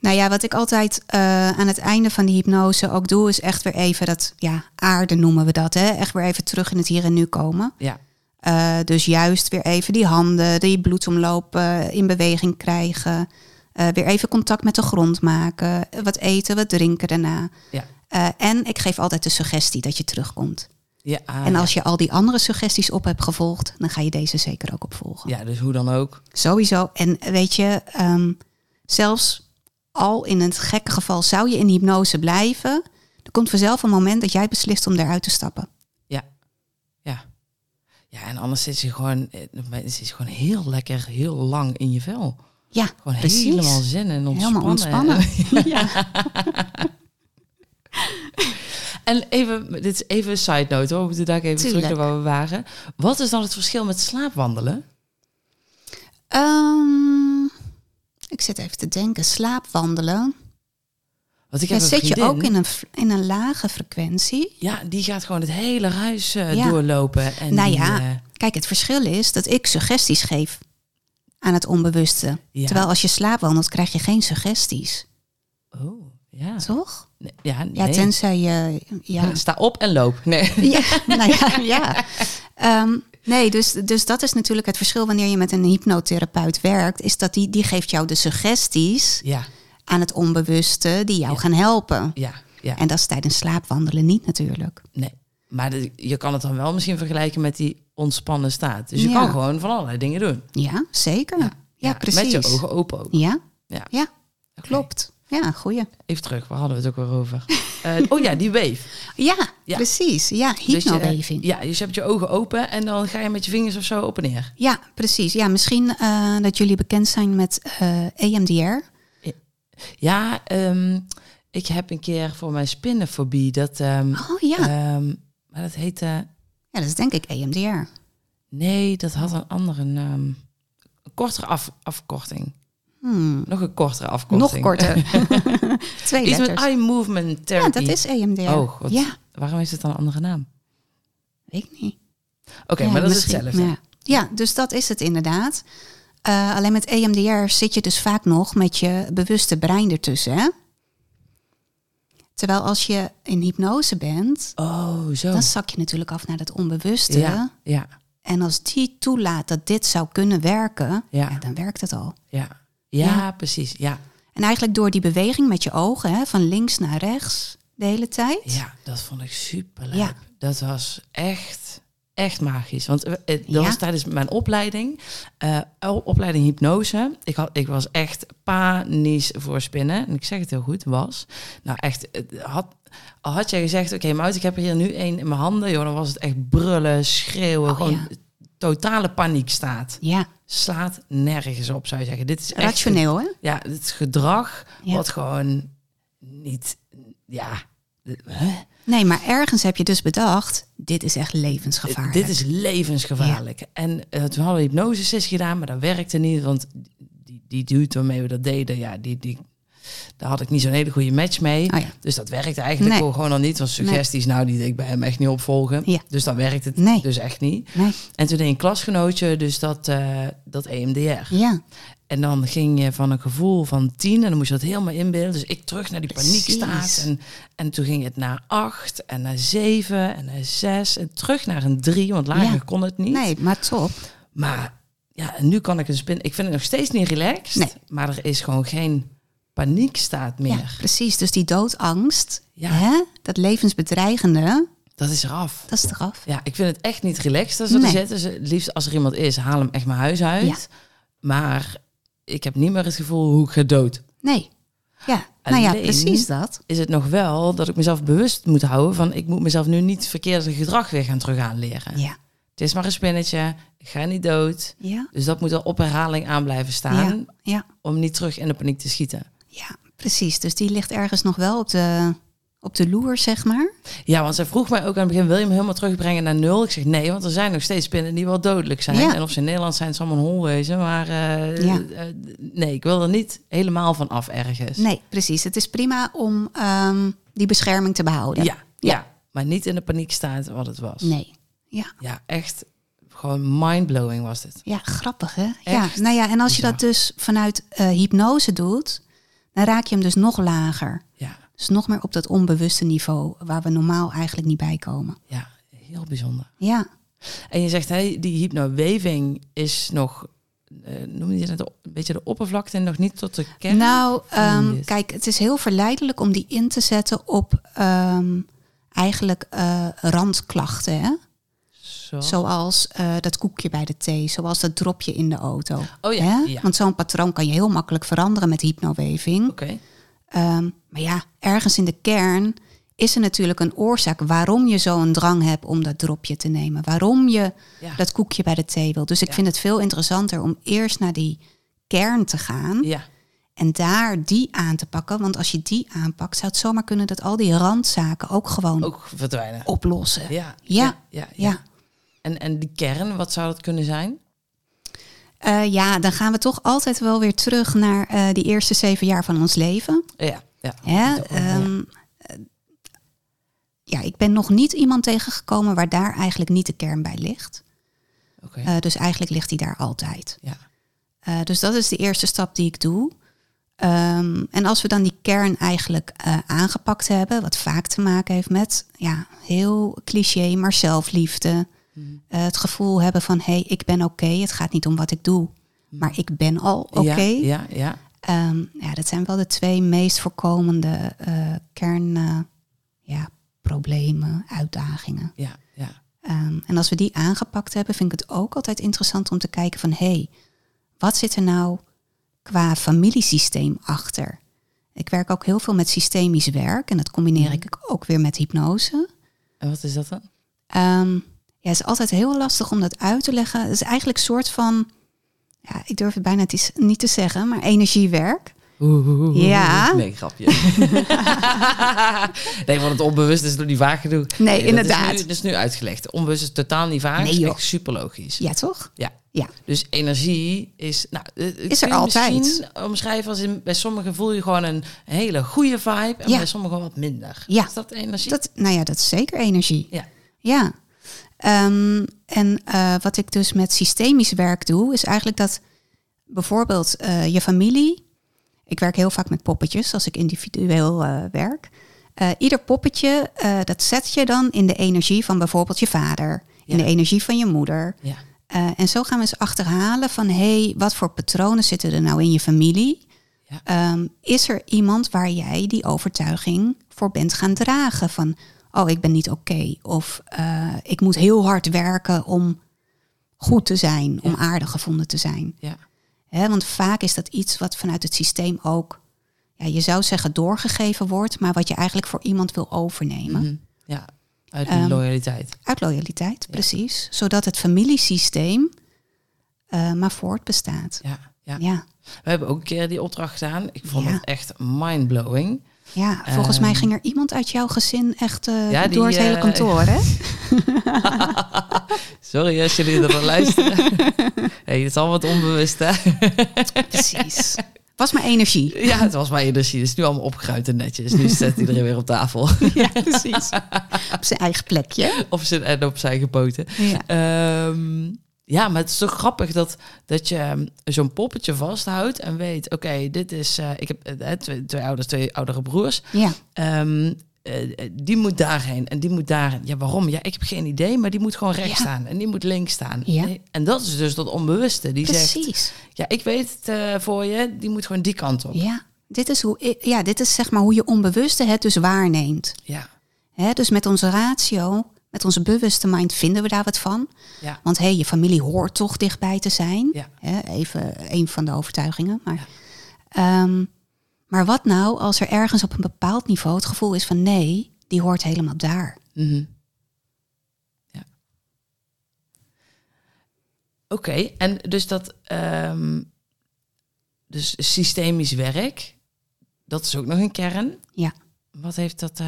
Speaker 2: Nou ja, wat ik altijd eh, aan het einde van die hypnose ook doe, is echt weer even dat, ja, aarde noemen we dat, hè? Echt weer even terug in het hier en nu komen.
Speaker 1: Ja,
Speaker 2: Eh, dus juist weer even die handen, die bloedsomloop eh, in beweging krijgen. Eh, weer even contact met de grond maken. Eh, Wat eten, wat drinken daarna.
Speaker 1: ja,
Speaker 2: Eh, en ik geef altijd de suggestie dat je terugkomt.
Speaker 1: ja. ah,
Speaker 2: en als je al die andere suggesties op hebt gevolgd, dan ga je deze zeker ook opvolgen.
Speaker 1: ja. Ja, dus hoe dan ook.
Speaker 2: Sowieso. En weet je, ehm, zelfs al in het gekke geval zou je in hypnose blijven, er komt vanzelf een moment dat jij beslist om daaruit te stappen.
Speaker 1: Ja. Ja, en anders zit je gewoon, eh, het is gewoon heel lekker, heel lang in je vel.
Speaker 2: Ja,
Speaker 1: Gewoon
Speaker 2: precies.
Speaker 1: helemaal zin en ontspannen.
Speaker 2: Helemaal ontspannen. ja.
Speaker 1: En even, dit is even een side note hoor, we moeten daar even terug
Speaker 2: Tuurlijk.
Speaker 1: naar waar we waren. Wat is dan het verschil met slaapwandelen?
Speaker 2: Ehm, ik zit even te denken, slaapwandelen.
Speaker 1: Want ik
Speaker 2: Ja,
Speaker 1: heb een
Speaker 2: zit je
Speaker 1: vriendin-
Speaker 2: ook in een, v- in een lage frequentie?
Speaker 1: Ja, die gaat gewoon het hele huis eh,
Speaker 2: Ja.
Speaker 1: doorlopen. En
Speaker 2: Nou
Speaker 1: die,
Speaker 2: ja.
Speaker 1: eh,
Speaker 2: Kijk, het verschil is dat ik suggesties geef aan het onbewuste.
Speaker 1: ja.
Speaker 2: Terwijl als je slaapwandelt, krijg je geen suggesties.
Speaker 1: Oh, ja.
Speaker 2: Toch?
Speaker 1: Nee, ja,
Speaker 2: Ja,
Speaker 1: nee.
Speaker 2: tenzij je. Ah. Ja,
Speaker 1: Sta op en loop. Nee.
Speaker 2: ja, nou ja, ja. Ehm, nee, dus, dus dat is natuurlijk het verschil wanneer je met een hypnotherapeut werkt, is dat die, die geeft jou de suggesties
Speaker 1: Ja,
Speaker 2: aan het onbewuste die jou
Speaker 1: Ja.
Speaker 2: gaan helpen.
Speaker 1: ja, ja.
Speaker 2: En dat is tijdens slaapwandelen niet natuurlijk.
Speaker 1: Nee. Maar de- je kan het dan wel misschien vergelijken met die ontspannen staat. Dus je
Speaker 2: Ja.
Speaker 1: kan gewoon van allerlei dingen doen.
Speaker 2: Ja, zeker. Ja, precies.
Speaker 1: Met je ogen open ook.
Speaker 2: Ja,
Speaker 1: Ja.
Speaker 2: ja
Speaker 1: Oké,
Speaker 2: klopt. Ja, goeie.
Speaker 1: Even terug, waar hadden we het ook weer over? Eh, oh ja, die wave.
Speaker 2: Ja,
Speaker 1: Ja.
Speaker 2: precies. Ja,
Speaker 1: Dus je, eh,
Speaker 2: hypnobeving.
Speaker 1: ja, dus je hebt je ogen open en dan ga je met je vingers of zo op en neer.
Speaker 2: Ja, precies. Ja, misschien eh, dat jullie bekend zijn met eh, EMDR.
Speaker 1: Ja, ehm, ik heb een keer voor mijn spinnenfobie dat... ehm,
Speaker 2: Oh ja.
Speaker 1: ehm, maar dat heette...
Speaker 2: ja, dat is denk ik E EMDR.
Speaker 1: Nee, dat had een andere naam. Een kortere af, afkorting.
Speaker 2: Hmm.
Speaker 1: Nog een kortere afkorting. Eh,
Speaker 2: Nog korter. Twee
Speaker 1: Iets met
Speaker 2: letters.
Speaker 1: eye movement
Speaker 2: Ja,
Speaker 1: therapy.
Speaker 2: dat is EMDR.
Speaker 1: Oh, god.
Speaker 2: Ja,
Speaker 1: Waarom is het dan een andere naam?
Speaker 2: weet ik niet.
Speaker 1: Oké,
Speaker 2: Ja,
Speaker 1: maar dat
Speaker 2: misschien.
Speaker 1: is hetzelfde.
Speaker 2: Ja. ja, dus dat is het inderdaad. Eh, alleen met EMDR zit je dus vaak nog met je bewuste brein ertussen. Hè? Terwijl als je in hypnose bent,
Speaker 1: Oh, zo.
Speaker 2: dan zak je natuurlijk af naar dat onbewuste.
Speaker 1: ja, ja,
Speaker 2: En als die toelaat dat dit zou kunnen werken,
Speaker 1: Ja.
Speaker 2: ja, dan werkt het al.
Speaker 1: ja. Ja,
Speaker 2: Ja.
Speaker 1: precies. Ja,
Speaker 2: En eigenlijk door die beweging met je ogen, hè, van links naar rechts, de hele tijd.
Speaker 1: Ja, dat vond ik super leuk.
Speaker 2: Ja.
Speaker 1: Dat was echt, echt magisch. Want eh, eh, dat
Speaker 2: Ja.
Speaker 1: was tijdens mijn opleiding, eh, o- opleiding hypnose. Ik, had, ik was echt panisch voor spinnen. En ik zeg het heel goed, was. Nou echt, het had, al had jij gezegd, oké Maud, ik heb er hier nu één in mijn handen. Joh, dan was het echt brullen, schreeuwen,
Speaker 2: Oh,
Speaker 1: gewoon
Speaker 2: ja.
Speaker 1: totale paniek staat.
Speaker 2: Ja,
Speaker 1: Slaat nergens op, zou je zeggen. Dit is echt
Speaker 2: rationeel hè?
Speaker 1: ja, het gedrag
Speaker 2: Ja.
Speaker 1: wat gewoon niet, ja, hè?
Speaker 2: Nee, maar ergens heb je dus bedacht, dit is echt levensgevaarlijk.
Speaker 1: dit is levensgevaarlijk. En eh, toen hadden we hypnosesessies gedaan, maar dat werkte niet, want die, die dude waarmee we dat deden, ja, die, die, daar had ik niet zo'n hele goede match mee.
Speaker 2: Oh ja.
Speaker 1: Dus dat werkte eigenlijk
Speaker 2: Nee.
Speaker 1: gewoon al niet, want suggesties, nou, die deed ik bij hem echt niet opvolgen.
Speaker 2: Ja.
Speaker 1: Dus dan werkt het
Speaker 2: Nee.
Speaker 1: dus echt niet.
Speaker 2: Nee,
Speaker 1: En toen deed een klasgenootje dus dat, eh, dat EMDR.
Speaker 2: ja.
Speaker 1: En dan ging je van een gevoel van tien en dan moest je dat helemaal inbeelden. Dus ik terug naar die
Speaker 2: Precies.
Speaker 1: paniekstaat. En, en toen ging het naar acht en naar zeven en naar zes. En terug naar een drie, want lager
Speaker 2: Ja.
Speaker 1: kon het niet.
Speaker 2: Nee, maar top.
Speaker 1: Maar ja, en nu kan ik een spin. Ik vind het nog steeds niet relaxed.
Speaker 2: Nee.
Speaker 1: Maar er is gewoon geen paniekstaat meer.
Speaker 2: Ja, precies. Dus die doodangst,
Speaker 1: Ja.
Speaker 2: hè? dat levensbedreigende,
Speaker 1: Dat is eraf.
Speaker 2: dat is eraf.
Speaker 1: Ja, ik vind het echt niet relaxed als er
Speaker 2: Nee.
Speaker 1: zit. Dus het liefst als er iemand is, haal hem echt mijn huis uit. Maar ik heb niet meer het gevoel hoe ik ga dood.
Speaker 2: Nee. Ja, nou ja,
Speaker 1: Alleen-
Speaker 2: precies dat.
Speaker 1: is het nog wel dat ik mezelf bewust moet houden van ik moet mezelf nu niet verkeerde gedrag weer gaan terug aanleren.
Speaker 2: Ja.
Speaker 1: Het is maar een spinnetje, ik ga niet dood.
Speaker 2: Ja.
Speaker 1: Dus dat moet al op herhaling aan blijven staan
Speaker 2: Ja. ja.
Speaker 1: om niet terug in de paniek te schieten.
Speaker 2: Ja, precies. Dus die ligt ergens nog wel op de, op de loer, zeg maar.
Speaker 1: Ja, want zij vroeg mij ook aan het begin, wil je hem helemaal terugbrengen naar nul? Ik zeg nee, want er zijn nog steeds spinnen die wel dodelijk zijn.
Speaker 2: Ja.
Speaker 1: En of ze in Nederland zijn, het zal mijn hol wezen. Maar eh,
Speaker 2: Ja.
Speaker 1: eh, nee, ik wil er niet helemaal van af ergens.
Speaker 2: Nee, precies. Het is prima om ehm, die bescherming te behouden.
Speaker 1: Ja, ja. maar niet in de paniek staat wat het was.
Speaker 2: Nee. Ja.
Speaker 1: Ja, echt gewoon mindblowing was dit.
Speaker 2: Ja, grappig hè?
Speaker 1: Echt?
Speaker 2: Ja, nou ja, en als je
Speaker 1: Bizar.
Speaker 2: dat dus vanuit eh, hypnose doet, dan raak je hem dus nog lager.
Speaker 1: Ja.
Speaker 2: Dus nog meer op dat onbewuste niveau waar we normaal eigenlijk niet bij komen.
Speaker 1: Ja, heel bijzonder.
Speaker 2: Ja,
Speaker 1: En je zegt, hey, die hypnowaving is nog, eh noem je het een beetje de oppervlakte en nog niet tot de kern?
Speaker 2: nou, ehm,
Speaker 1: Yes.
Speaker 2: kijk, het is heel verleidelijk om die in te zetten op ehm, eigenlijk eh, randklachten. Hè?
Speaker 1: Zo.
Speaker 2: Zoals eh, dat koekje bij de thee, zoals dat dropje in de auto.
Speaker 1: Oh ja,
Speaker 2: Hè?
Speaker 1: ja.
Speaker 2: Want zo'n patroon kan je heel makkelijk veranderen met hypnowaving.
Speaker 1: Oké,
Speaker 2: Ehm, maar ja, ergens in de kern is er natuurlijk een oorzaak waarom je zo'n drang hebt om dat dropje te nemen. Waarom je
Speaker 1: Ja.
Speaker 2: dat koekje bij de thee wil. Dus ik
Speaker 1: Ja.
Speaker 2: vind het veel interessanter om eerst naar die kern te gaan
Speaker 1: ja.
Speaker 2: en daar die aan te pakken. Want als je die aanpakt, zou het zomaar kunnen dat al die randzaken ook gewoon
Speaker 1: Ook verdwijnen.
Speaker 2: oplossen. Ja.
Speaker 1: Ja,
Speaker 2: Ja.
Speaker 1: ja, ja.
Speaker 2: Ja.
Speaker 1: En, en die kern, wat zou dat kunnen zijn?
Speaker 2: Eh, ja, dan gaan we toch altijd wel weer terug naar eh, die eerste zeven jaar van ons leven.
Speaker 1: Ja, ja.
Speaker 2: Hè?
Speaker 1: Dat ook wel, ja.
Speaker 2: ehm, eh, ja, ik ben nog niet iemand tegengekomen waar daar eigenlijk niet de kern bij ligt.
Speaker 1: Oké,
Speaker 2: Eh, dus eigenlijk ligt die daar altijd.
Speaker 1: ja.
Speaker 2: Eh, dus dat is de eerste stap die ik doe. Ehm, en als we dan die kern eigenlijk eh, aangepakt hebben, wat vaak te maken heeft met, ja, heel cliché, maar zelfliefde.
Speaker 1: Mm.
Speaker 2: Eh, het gevoel hebben van, hé, hey, ik ben oké, het gaat niet om wat ik doe, maar ik ben al oké.
Speaker 1: Mm. Ja, ja, ja.
Speaker 2: Ehm, ja, dat zijn wel de twee meest voorkomende kernproblemen, ja, problemen, uitdagingen.
Speaker 1: ja, ja.
Speaker 2: Ehm, en als we die aangepakt hebben, vind ik het ook altijd interessant om te kijken van... hé, hey, wat zit er nou qua familiesysteem achter? Ik werk ook heel veel met systemisch werk en dat combineer ik ook weer met hypnose.
Speaker 1: En wat is dat dan?
Speaker 2: Ehm, ja, het is altijd heel lastig om dat uit te leggen. Het is eigenlijk een soort van, ja, ik durf het bijna het is- niet te zeggen, maar energiewerk. Ja.
Speaker 1: Nee, grapje. nee, want het onbewust is nog niet vaak genoeg.
Speaker 2: Nee,
Speaker 1: dat
Speaker 2: inderdaad.
Speaker 1: is nu- Dat is nu, uitgelegd. Onbewust is totaal niet vaag.
Speaker 2: Nee,
Speaker 1: is
Speaker 2: joh.
Speaker 1: echt super logisch.
Speaker 2: Ja, toch?
Speaker 1: Ja.
Speaker 2: Ja.
Speaker 1: Dus energie is... Nou, eh, kun je
Speaker 2: altijd.
Speaker 1: misschien omschrijven als in, bij sommigen voel je gewoon een hele goede vibe... en
Speaker 2: Ja.
Speaker 1: bij sommigen wat minder.
Speaker 2: Ja.
Speaker 1: Is dat energie?
Speaker 2: Dat, nou ja, dat is zeker energie.
Speaker 1: Ja.
Speaker 2: Ja. Ehm, en eh, wat ik dus met systemisch werk doe, is eigenlijk dat bijvoorbeeld eh, je familie. Ik werk heel vaak met poppetjes als ik individueel eh, werk. Eh, ieder poppetje, eh, dat zet je dan in de energie van bijvoorbeeld je vader, in
Speaker 1: Ja.
Speaker 2: de energie van je moeder.
Speaker 1: ja.
Speaker 2: Eh, en zo gaan we eens achterhalen van hé, hey, wat voor patronen zitten er nou in je familie? Um, is er iemand waar jij die overtuiging voor bent gaan dragen? Van, oh, ik ben niet oké. Okay, of uh, ik moet heel hard werken om goed te zijn, ja. om aardig gevonden te zijn.
Speaker 1: Ja.
Speaker 2: He, want vaak is dat iets wat vanuit het systeem ook, ja, je zou zeggen doorgegeven wordt, maar wat je eigenlijk voor iemand wil overnemen. Mm -hmm.
Speaker 1: Mhm. Ja, uit
Speaker 2: Ehm.
Speaker 1: um, loyaliteit.
Speaker 2: Uit loyaliteit, ja. precies. Zodat het familiesysteem uh, maar voortbestaat.
Speaker 1: Ja, ja. ja. We hebben ook een keer die opdracht gedaan. Ik vond ja. het echt mindblowing.
Speaker 2: Ja, volgens um, mij ging er iemand uit jouw gezin echt uh, ja, door die, het hele uh, kantoor, hè?
Speaker 1: Sorry als jullie ervan luisteren. hey, het is al wat onbewust, hè?
Speaker 2: Precies. Was maar energie.
Speaker 1: Ja, het was maar energie. Het is nu allemaal opgeruimd en netjes. Nu zet iedereen weer op tafel.
Speaker 2: Ja, precies. op zijn eigen plekje.
Speaker 1: Of zijn, en op zijn eigen poten. Ja. Um, ja, maar het is toch grappig dat, dat je ehm, zo'n poppetje vasthoudt en weet, oké, okay, dit is, uh, ik heb uh, twee, twee, ouders, twee oudere broers.
Speaker 2: Ja.
Speaker 1: Um, uh, die moet daarheen en die moet daarheen. Ja, waarom? Ja, ik heb geen idee, maar die moet gewoon rechts ja. staan en die moet links staan.
Speaker 2: Ja.
Speaker 1: En dat is dus dat onbewuste. Die
Speaker 2: Precies.
Speaker 1: zegt, ja, ik weet het eh, voor je, die moet gewoon die kant op.
Speaker 2: Ja, dit is, hoe, ja, dit is zeg maar hoe je onbewuste het dus waarneemt.
Speaker 1: Ja.
Speaker 2: Hè, dus met onze ratio met onze bewuste mind vinden we daar wat van.
Speaker 1: Ja.
Speaker 2: Want hey, je familie hoort toch dichtbij te zijn.
Speaker 1: Ja.
Speaker 2: Even een van de overtuigingen. Maar, ja. um, maar wat nou als er ergens op een bepaald niveau het gevoel is van nee, die hoort helemaal daar.
Speaker 1: Mm -hmm. ja. Oké, okay, en dus dat um, dus systemisch werk, dat is ook nog een kern.
Speaker 2: Ja.
Speaker 1: Wat heeft dat uh,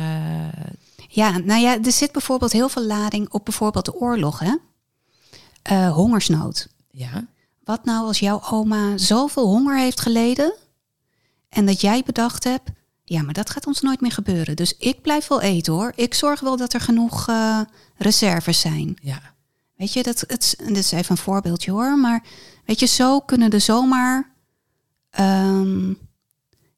Speaker 2: ja, nou ja, er zit bijvoorbeeld heel veel lading op bijvoorbeeld de oorlogen. Uh, hongersnood.
Speaker 1: Ja.
Speaker 2: Wat nou als jouw oma zoveel honger heeft geleden en dat jij bedacht hebt, ja, maar dat gaat ons nooit meer gebeuren. Dus ik blijf wel eten hoor. Ik zorg wel dat er genoeg uh, reserves zijn.
Speaker 1: Ja.
Speaker 2: Weet je, dat, het, dit is even een voorbeeldje hoor, maar weet je, zo kunnen er zomaar um,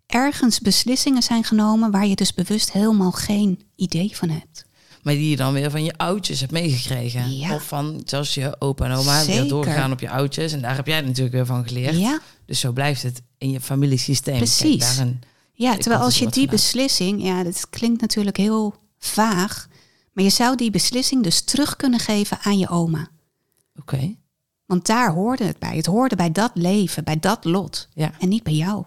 Speaker 2: ergens beslissingen zijn genomen waar je dus bewust helemaal geen idee van hebt.
Speaker 1: Maar die je dan weer van je oudjes hebt meegekregen.
Speaker 2: Ja.
Speaker 1: Of van zoals je opa en oma
Speaker 2: Zeker.
Speaker 1: weer doorgaan op je oudjes. En daar heb jij natuurlijk weer van geleerd.
Speaker 2: Ja.
Speaker 1: Dus zo blijft het in je familiesysteem.
Speaker 2: Precies.
Speaker 1: Kijk, daarin,
Speaker 2: ja, terwijl als je die vanuit. beslissing, ja, dat klinkt natuurlijk heel vaag. Maar je zou die beslissing dus terug kunnen geven aan je oma.
Speaker 1: Oké. Okay.
Speaker 2: Want daar hoorde het bij. Het hoorde bij dat leven, bij dat lot.
Speaker 1: Ja.
Speaker 2: En niet bij jou.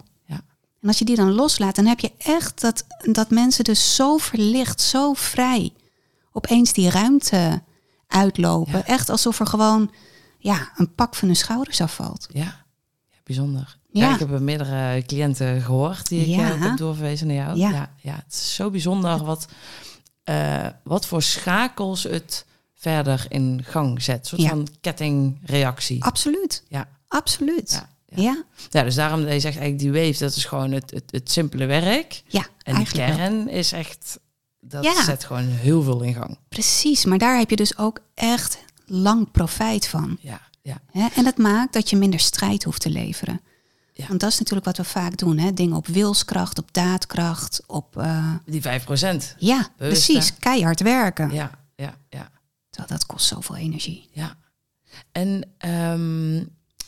Speaker 2: En als je die dan loslaat, dan heb je echt dat, dat mensen dus zo verlicht, zo vrij opeens die ruimte uitlopen.
Speaker 1: Ja.
Speaker 2: Echt alsof er gewoon ja, een pak van hun schouders afvalt.
Speaker 1: Ja, ja bijzonder.
Speaker 2: Ja.
Speaker 1: ja. ik heb meerdere cliënten gehoord die ik ook heb doorverwezen naar jou.
Speaker 2: Ja.
Speaker 1: Ja, het is zo bijzonder wat, uh, wat voor schakels het verder in gang zet. Een soort van kettingreactie.
Speaker 2: Absoluut.
Speaker 1: Ja.
Speaker 2: Absoluut.
Speaker 1: Ja.
Speaker 2: ja.
Speaker 1: ja. dus daarom dat je zegt eigenlijk die wave, dat is gewoon het, het, het simpele werk.
Speaker 2: Ja,
Speaker 1: En de
Speaker 2: eigenlijk wel.
Speaker 1: kern is echt, dat
Speaker 2: Ja.
Speaker 1: zet gewoon heel veel in gang.
Speaker 2: Precies, maar daar heb je dus ook echt lang profijt van.
Speaker 1: Ja, ja,
Speaker 2: Hè? En dat maakt dat je minder strijd hoeft te leveren.
Speaker 1: Ja.
Speaker 2: Want dat is natuurlijk wat we vaak doen. Hè? Dingen op wilskracht, op daadkracht, op... eh,
Speaker 1: die 5 procent.
Speaker 2: ja,
Speaker 1: Bewust,
Speaker 2: precies,
Speaker 1: hè?
Speaker 2: keihard werken.
Speaker 1: Ja, ja, ja,
Speaker 2: Terwijl dat kost zoveel energie.
Speaker 1: ja. En ehm,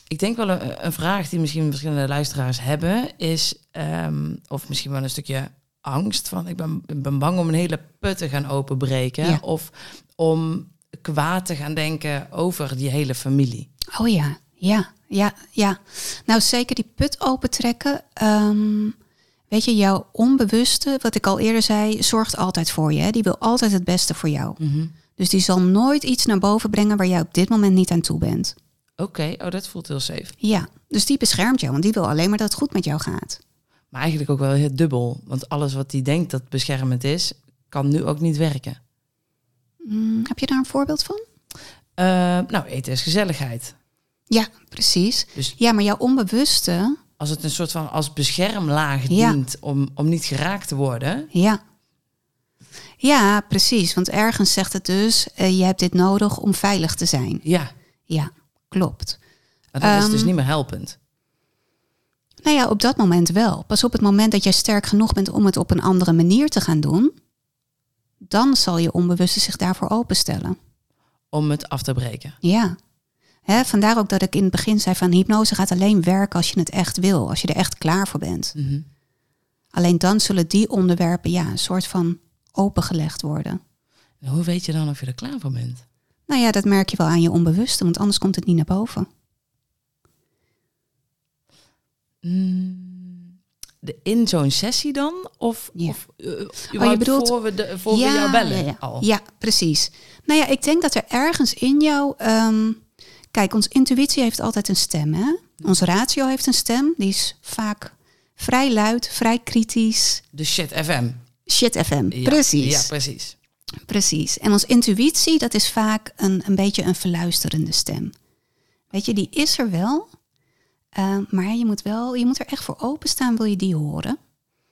Speaker 1: ik denk wel een, een vraag die misschien verschillende luisteraars hebben, is, ehm, of misschien wel een stukje angst van, ik ben, ik ben bang om een hele put te gaan openbreken.
Speaker 2: Ja.
Speaker 1: Of om kwaad te gaan denken over die hele familie.
Speaker 2: Oh ja, ja, ja, ja. Nou, zeker die put opentrekken. ehm, weet je, jouw onbewuste, wat ik al eerder zei, zorgt altijd voor je. Hè? Die wil altijd het beste voor jou.
Speaker 1: Mhm.
Speaker 2: Dus die zal nooit iets naar boven brengen waar jij op dit moment niet aan toe bent.
Speaker 1: Oké, oh, dat voelt heel safe.
Speaker 2: Ja, dus die beschermt jou, want die wil alleen maar dat het goed met jou gaat.
Speaker 1: Maar eigenlijk ook wel heel dubbel. Want alles wat hij denkt dat beschermend is, kan nu ook niet werken.
Speaker 2: Mm, heb je daar een voorbeeld van?
Speaker 1: Eh, nou, eten is gezelligheid.
Speaker 2: Ja, precies.
Speaker 1: Dus-
Speaker 2: Ja, maar jouw onbewuste,
Speaker 1: Als het een soort van als beschermlaag
Speaker 2: Ja.
Speaker 1: dient om, om niet geraakt te worden.
Speaker 2: ja. Ja, precies. Want ergens zegt het dus, eh, je hebt dit nodig om veilig te zijn.
Speaker 1: Ja,
Speaker 2: Ja, klopt.
Speaker 1: maar dat is dus
Speaker 2: Ehm.
Speaker 1: niet meer helpend.
Speaker 2: Nou ja, op dat moment wel. Pas op het moment dat jij sterk genoeg bent om het op een andere manier te gaan doen, dan zal je onbewuste zich daarvoor openstellen.
Speaker 1: Om het af te breken.
Speaker 2: Ja. Hè, Hè, vandaar ook dat ik in het begin zei van hypnose gaat alleen werken als je het echt wil, als je er echt klaar voor bent.
Speaker 1: Mhm.
Speaker 2: Alleen dan zullen die onderwerpen ja, een soort van opengelegd worden.
Speaker 1: Nou, Hoe weet je dan of je er klaar voor bent?
Speaker 2: Nou ja, dat merk je wel aan je onbewuste, want anders komt het niet naar boven.
Speaker 1: Mm, de, in zo'n sessie dan? Of,
Speaker 2: Ja. Oh,
Speaker 1: of eh, überhaupt
Speaker 2: bedoelt-
Speaker 1: voor we, de, voor we jou bellen
Speaker 2: ja, ja.
Speaker 1: al?
Speaker 2: Ja, precies. Nou ja, ik denk dat er ergens in jou. ehm, kijk, ons intuïtie heeft altijd een stem. Hè? Ons ratio heeft een stem. Die is vaak vrij luid, vrij kritisch.
Speaker 1: De shit FM.
Speaker 2: Shit FM.
Speaker 1: Ja,
Speaker 2: precies.
Speaker 1: Ja, precies.
Speaker 2: Precies. En ons intuïtie, dat is vaak een, een beetje een verluisterende stem. Weet je, die is er wel. eh, maar je moet, wel, je moet er echt voor openstaan, wil je die horen.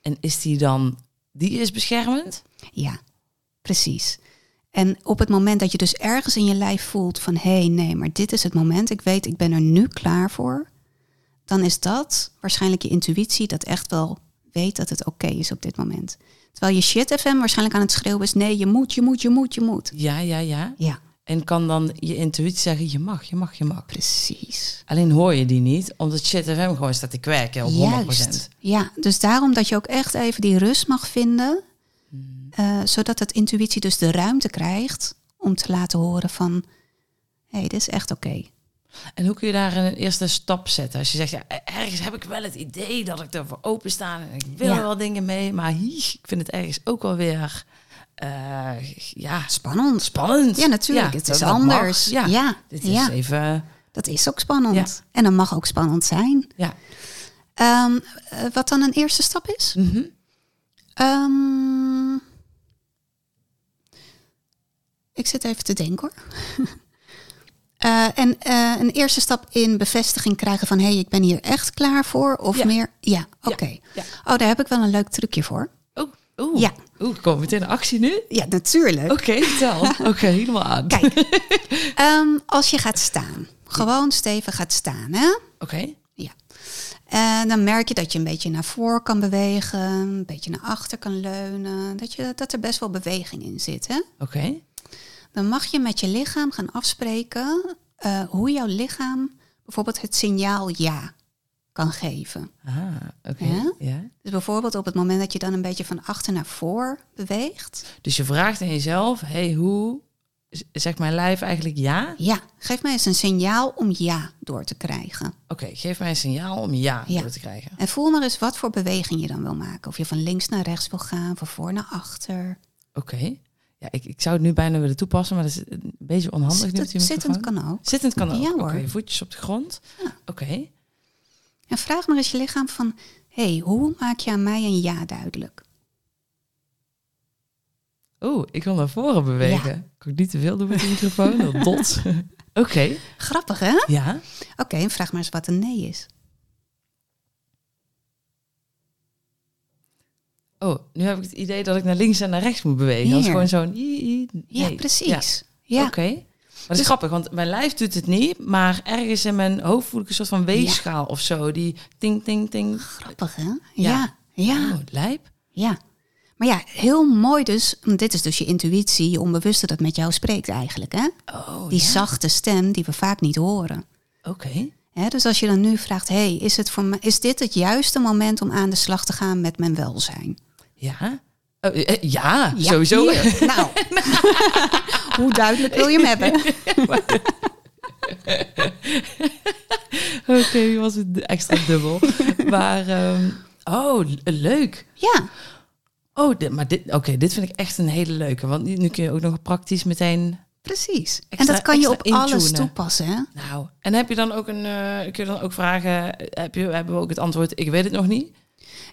Speaker 1: En is die dan, die is beschermend?
Speaker 2: Ja, precies. En op het moment dat je dus ergens in je lijf voelt van hé, hey, nee, maar dit is het moment, ik weet, ik ben er nu klaar voor, dan is dat waarschijnlijk je intuïtie dat echt wel weet dat het oké is op dit moment. Terwijl je shit FM waarschijnlijk aan het schreeuwen is, nee, je moet, je moet, je moet, je moet.
Speaker 1: Ja, ja, ja.
Speaker 2: Ja,
Speaker 1: En kan dan je intuïtie zeggen, je mag, je mag, je mag.
Speaker 2: precies.
Speaker 1: Alleen hoor je die niet, omdat shit FM gewoon staat te kwerken op 100%.
Speaker 2: Ja, dus daarom dat je ook echt even die rust mag vinden,
Speaker 1: Hmm.
Speaker 2: eh, zodat dat intuïtie dus de ruimte krijgt om te laten horen van hé, hey, dit is echt oké.
Speaker 1: En hoe kun je daar een eerste stap zetten? Als je zegt, ja, e-, ergens heb ik wel het idee dat ik ervoor openstaan en ik wil
Speaker 2: Ja.
Speaker 1: er wel dingen mee, maar hier, ik vind het ergens ook wel weer eh, ja,
Speaker 2: Spannend.
Speaker 1: spannend.
Speaker 2: Ja, natuurlijk. het
Speaker 1: dat-
Speaker 2: is
Speaker 1: dat mag.
Speaker 2: anders.
Speaker 1: Ja,
Speaker 2: Ja, ja,
Speaker 1: dit is even.
Speaker 2: dat is ook spannend.
Speaker 1: Ja.
Speaker 2: En dat mag ook spannend zijn.
Speaker 1: Ja.
Speaker 2: Ehm, eh, wat dan een eerste stap is?
Speaker 1: Mhm.
Speaker 2: Ehm, ik zit even te denken hoor. Eh, en eh, een eerste stap in bevestiging krijgen van... hé, hey, ik ben hier echt klaar voor of
Speaker 1: Ja.
Speaker 2: meer. Ja, oké.
Speaker 1: ja.
Speaker 2: Oh, daar heb ik wel een leuk trucje voor.
Speaker 1: Oh, oeh.
Speaker 2: Ja.
Speaker 1: Oeh, kom meteen in actie nu.
Speaker 2: Ja, natuurlijk.
Speaker 1: Oké, vertel. Oké, helemaal aan.
Speaker 2: Kijk, ehm, als je gaat staan. Gewoon stevig gaat staan, hè?
Speaker 1: Oké.
Speaker 2: Ja. En dan merk je dat je een beetje naar voor kan bewegen, een beetje naar achter kan leunen, dat, je, dat er best wel beweging in zit. Hè?
Speaker 1: Oké.
Speaker 2: Dan mag je met je lichaam gaan afspreken eh, hoe jouw lichaam bijvoorbeeld het signaal ja kan geven.
Speaker 1: Ah, oké.
Speaker 2: Ja?
Speaker 1: Ja.
Speaker 2: Dus bijvoorbeeld op het moment dat je dan een beetje van achter naar voor beweegt.
Speaker 1: Dus je vraagt aan jezelf, hey, hoe z- zegt mijn lijf eigenlijk ja?
Speaker 2: Ja, geef mij eens een signaal om ja door te krijgen.
Speaker 1: Oké, geef mij een signaal om ja,
Speaker 2: Ja.
Speaker 1: door te krijgen.
Speaker 2: En voel maar eens wat voor beweging je dan wil maken. Of je van links naar rechts wil gaan, van voor naar achter.
Speaker 1: Oké. Ja, ik, ik zou het nu bijna willen toepassen, maar dat is een beetje onhandig nu op die
Speaker 2: Zittend, zittend
Speaker 1: microfoon.
Speaker 2: kan ook.
Speaker 1: Zittend kan ook.
Speaker 2: Ja,
Speaker 1: Oké,
Speaker 2: hoor.
Speaker 1: voetjes op de grond.
Speaker 2: Ja.
Speaker 1: Oké.
Speaker 2: En vraag maar eens je lichaam van... hé, hey, hoe maak je aan mij een ja duidelijk?
Speaker 1: Oeh, ik wil naar voren bewegen. Kan ik niet te veel doen met de microfoon? Dat dot. Oké.
Speaker 2: Grappig, hè? Oké,
Speaker 1: Ja.
Speaker 2: en vraag maar eens wat een nee is.
Speaker 1: Oh, nu heb ik het idee dat ik naar links en naar rechts moet bewegen. Dat is
Speaker 2: Hier.
Speaker 1: gewoon zo'n... i- i-
Speaker 2: Ja,
Speaker 1: nee.
Speaker 2: precies. Ja. Dus-
Speaker 1: Ja. Oké. Maar dat is grappig, want mijn lijf doet het niet, maar ergens in mijn hoofd voel ik een soort van weegschaal of zo. Die ting, ting, ting.
Speaker 2: Grappig, hè? Ja,
Speaker 1: Ja.
Speaker 2: ja, ja.
Speaker 1: Oh, lijp.
Speaker 2: Maar ja, heel mooi dus. want Dit is dus je intuïtie, je onbewuste dat met jou spreekt eigenlijk, hè?
Speaker 1: Oh,
Speaker 2: Die
Speaker 1: ja.
Speaker 2: zachte stem die we vaak niet horen.
Speaker 1: Oké.
Speaker 2: Hè, dus als je dan nu vraagt, hey, is, het voor mij, is dit het juiste moment om aan de slag te gaan met mijn welzijn?
Speaker 1: Ja. Oh, eh, eh, ja,
Speaker 2: Ja,
Speaker 1: sowieso.
Speaker 2: hier. Nou, hoe duidelijk wil je hem hebben?
Speaker 1: Oké, was het extra dubbel. maar, ehm, oh, le- leuk.
Speaker 2: Ja,
Speaker 1: Oh, dit, maar dit, oké, dit vind ik echt een hele leuke. Want nu nu kun je ook nog praktisch meteen.
Speaker 2: precies.
Speaker 1: Extra-
Speaker 2: en dat kan je op
Speaker 1: extra
Speaker 2: alles
Speaker 1: intunen.
Speaker 2: toepassen, hè?
Speaker 1: Nou, en heb je dan ook een. eh, kun je dan ook vragen? eh, Heb je, hebben we ook het antwoord? Ik weet het nog niet.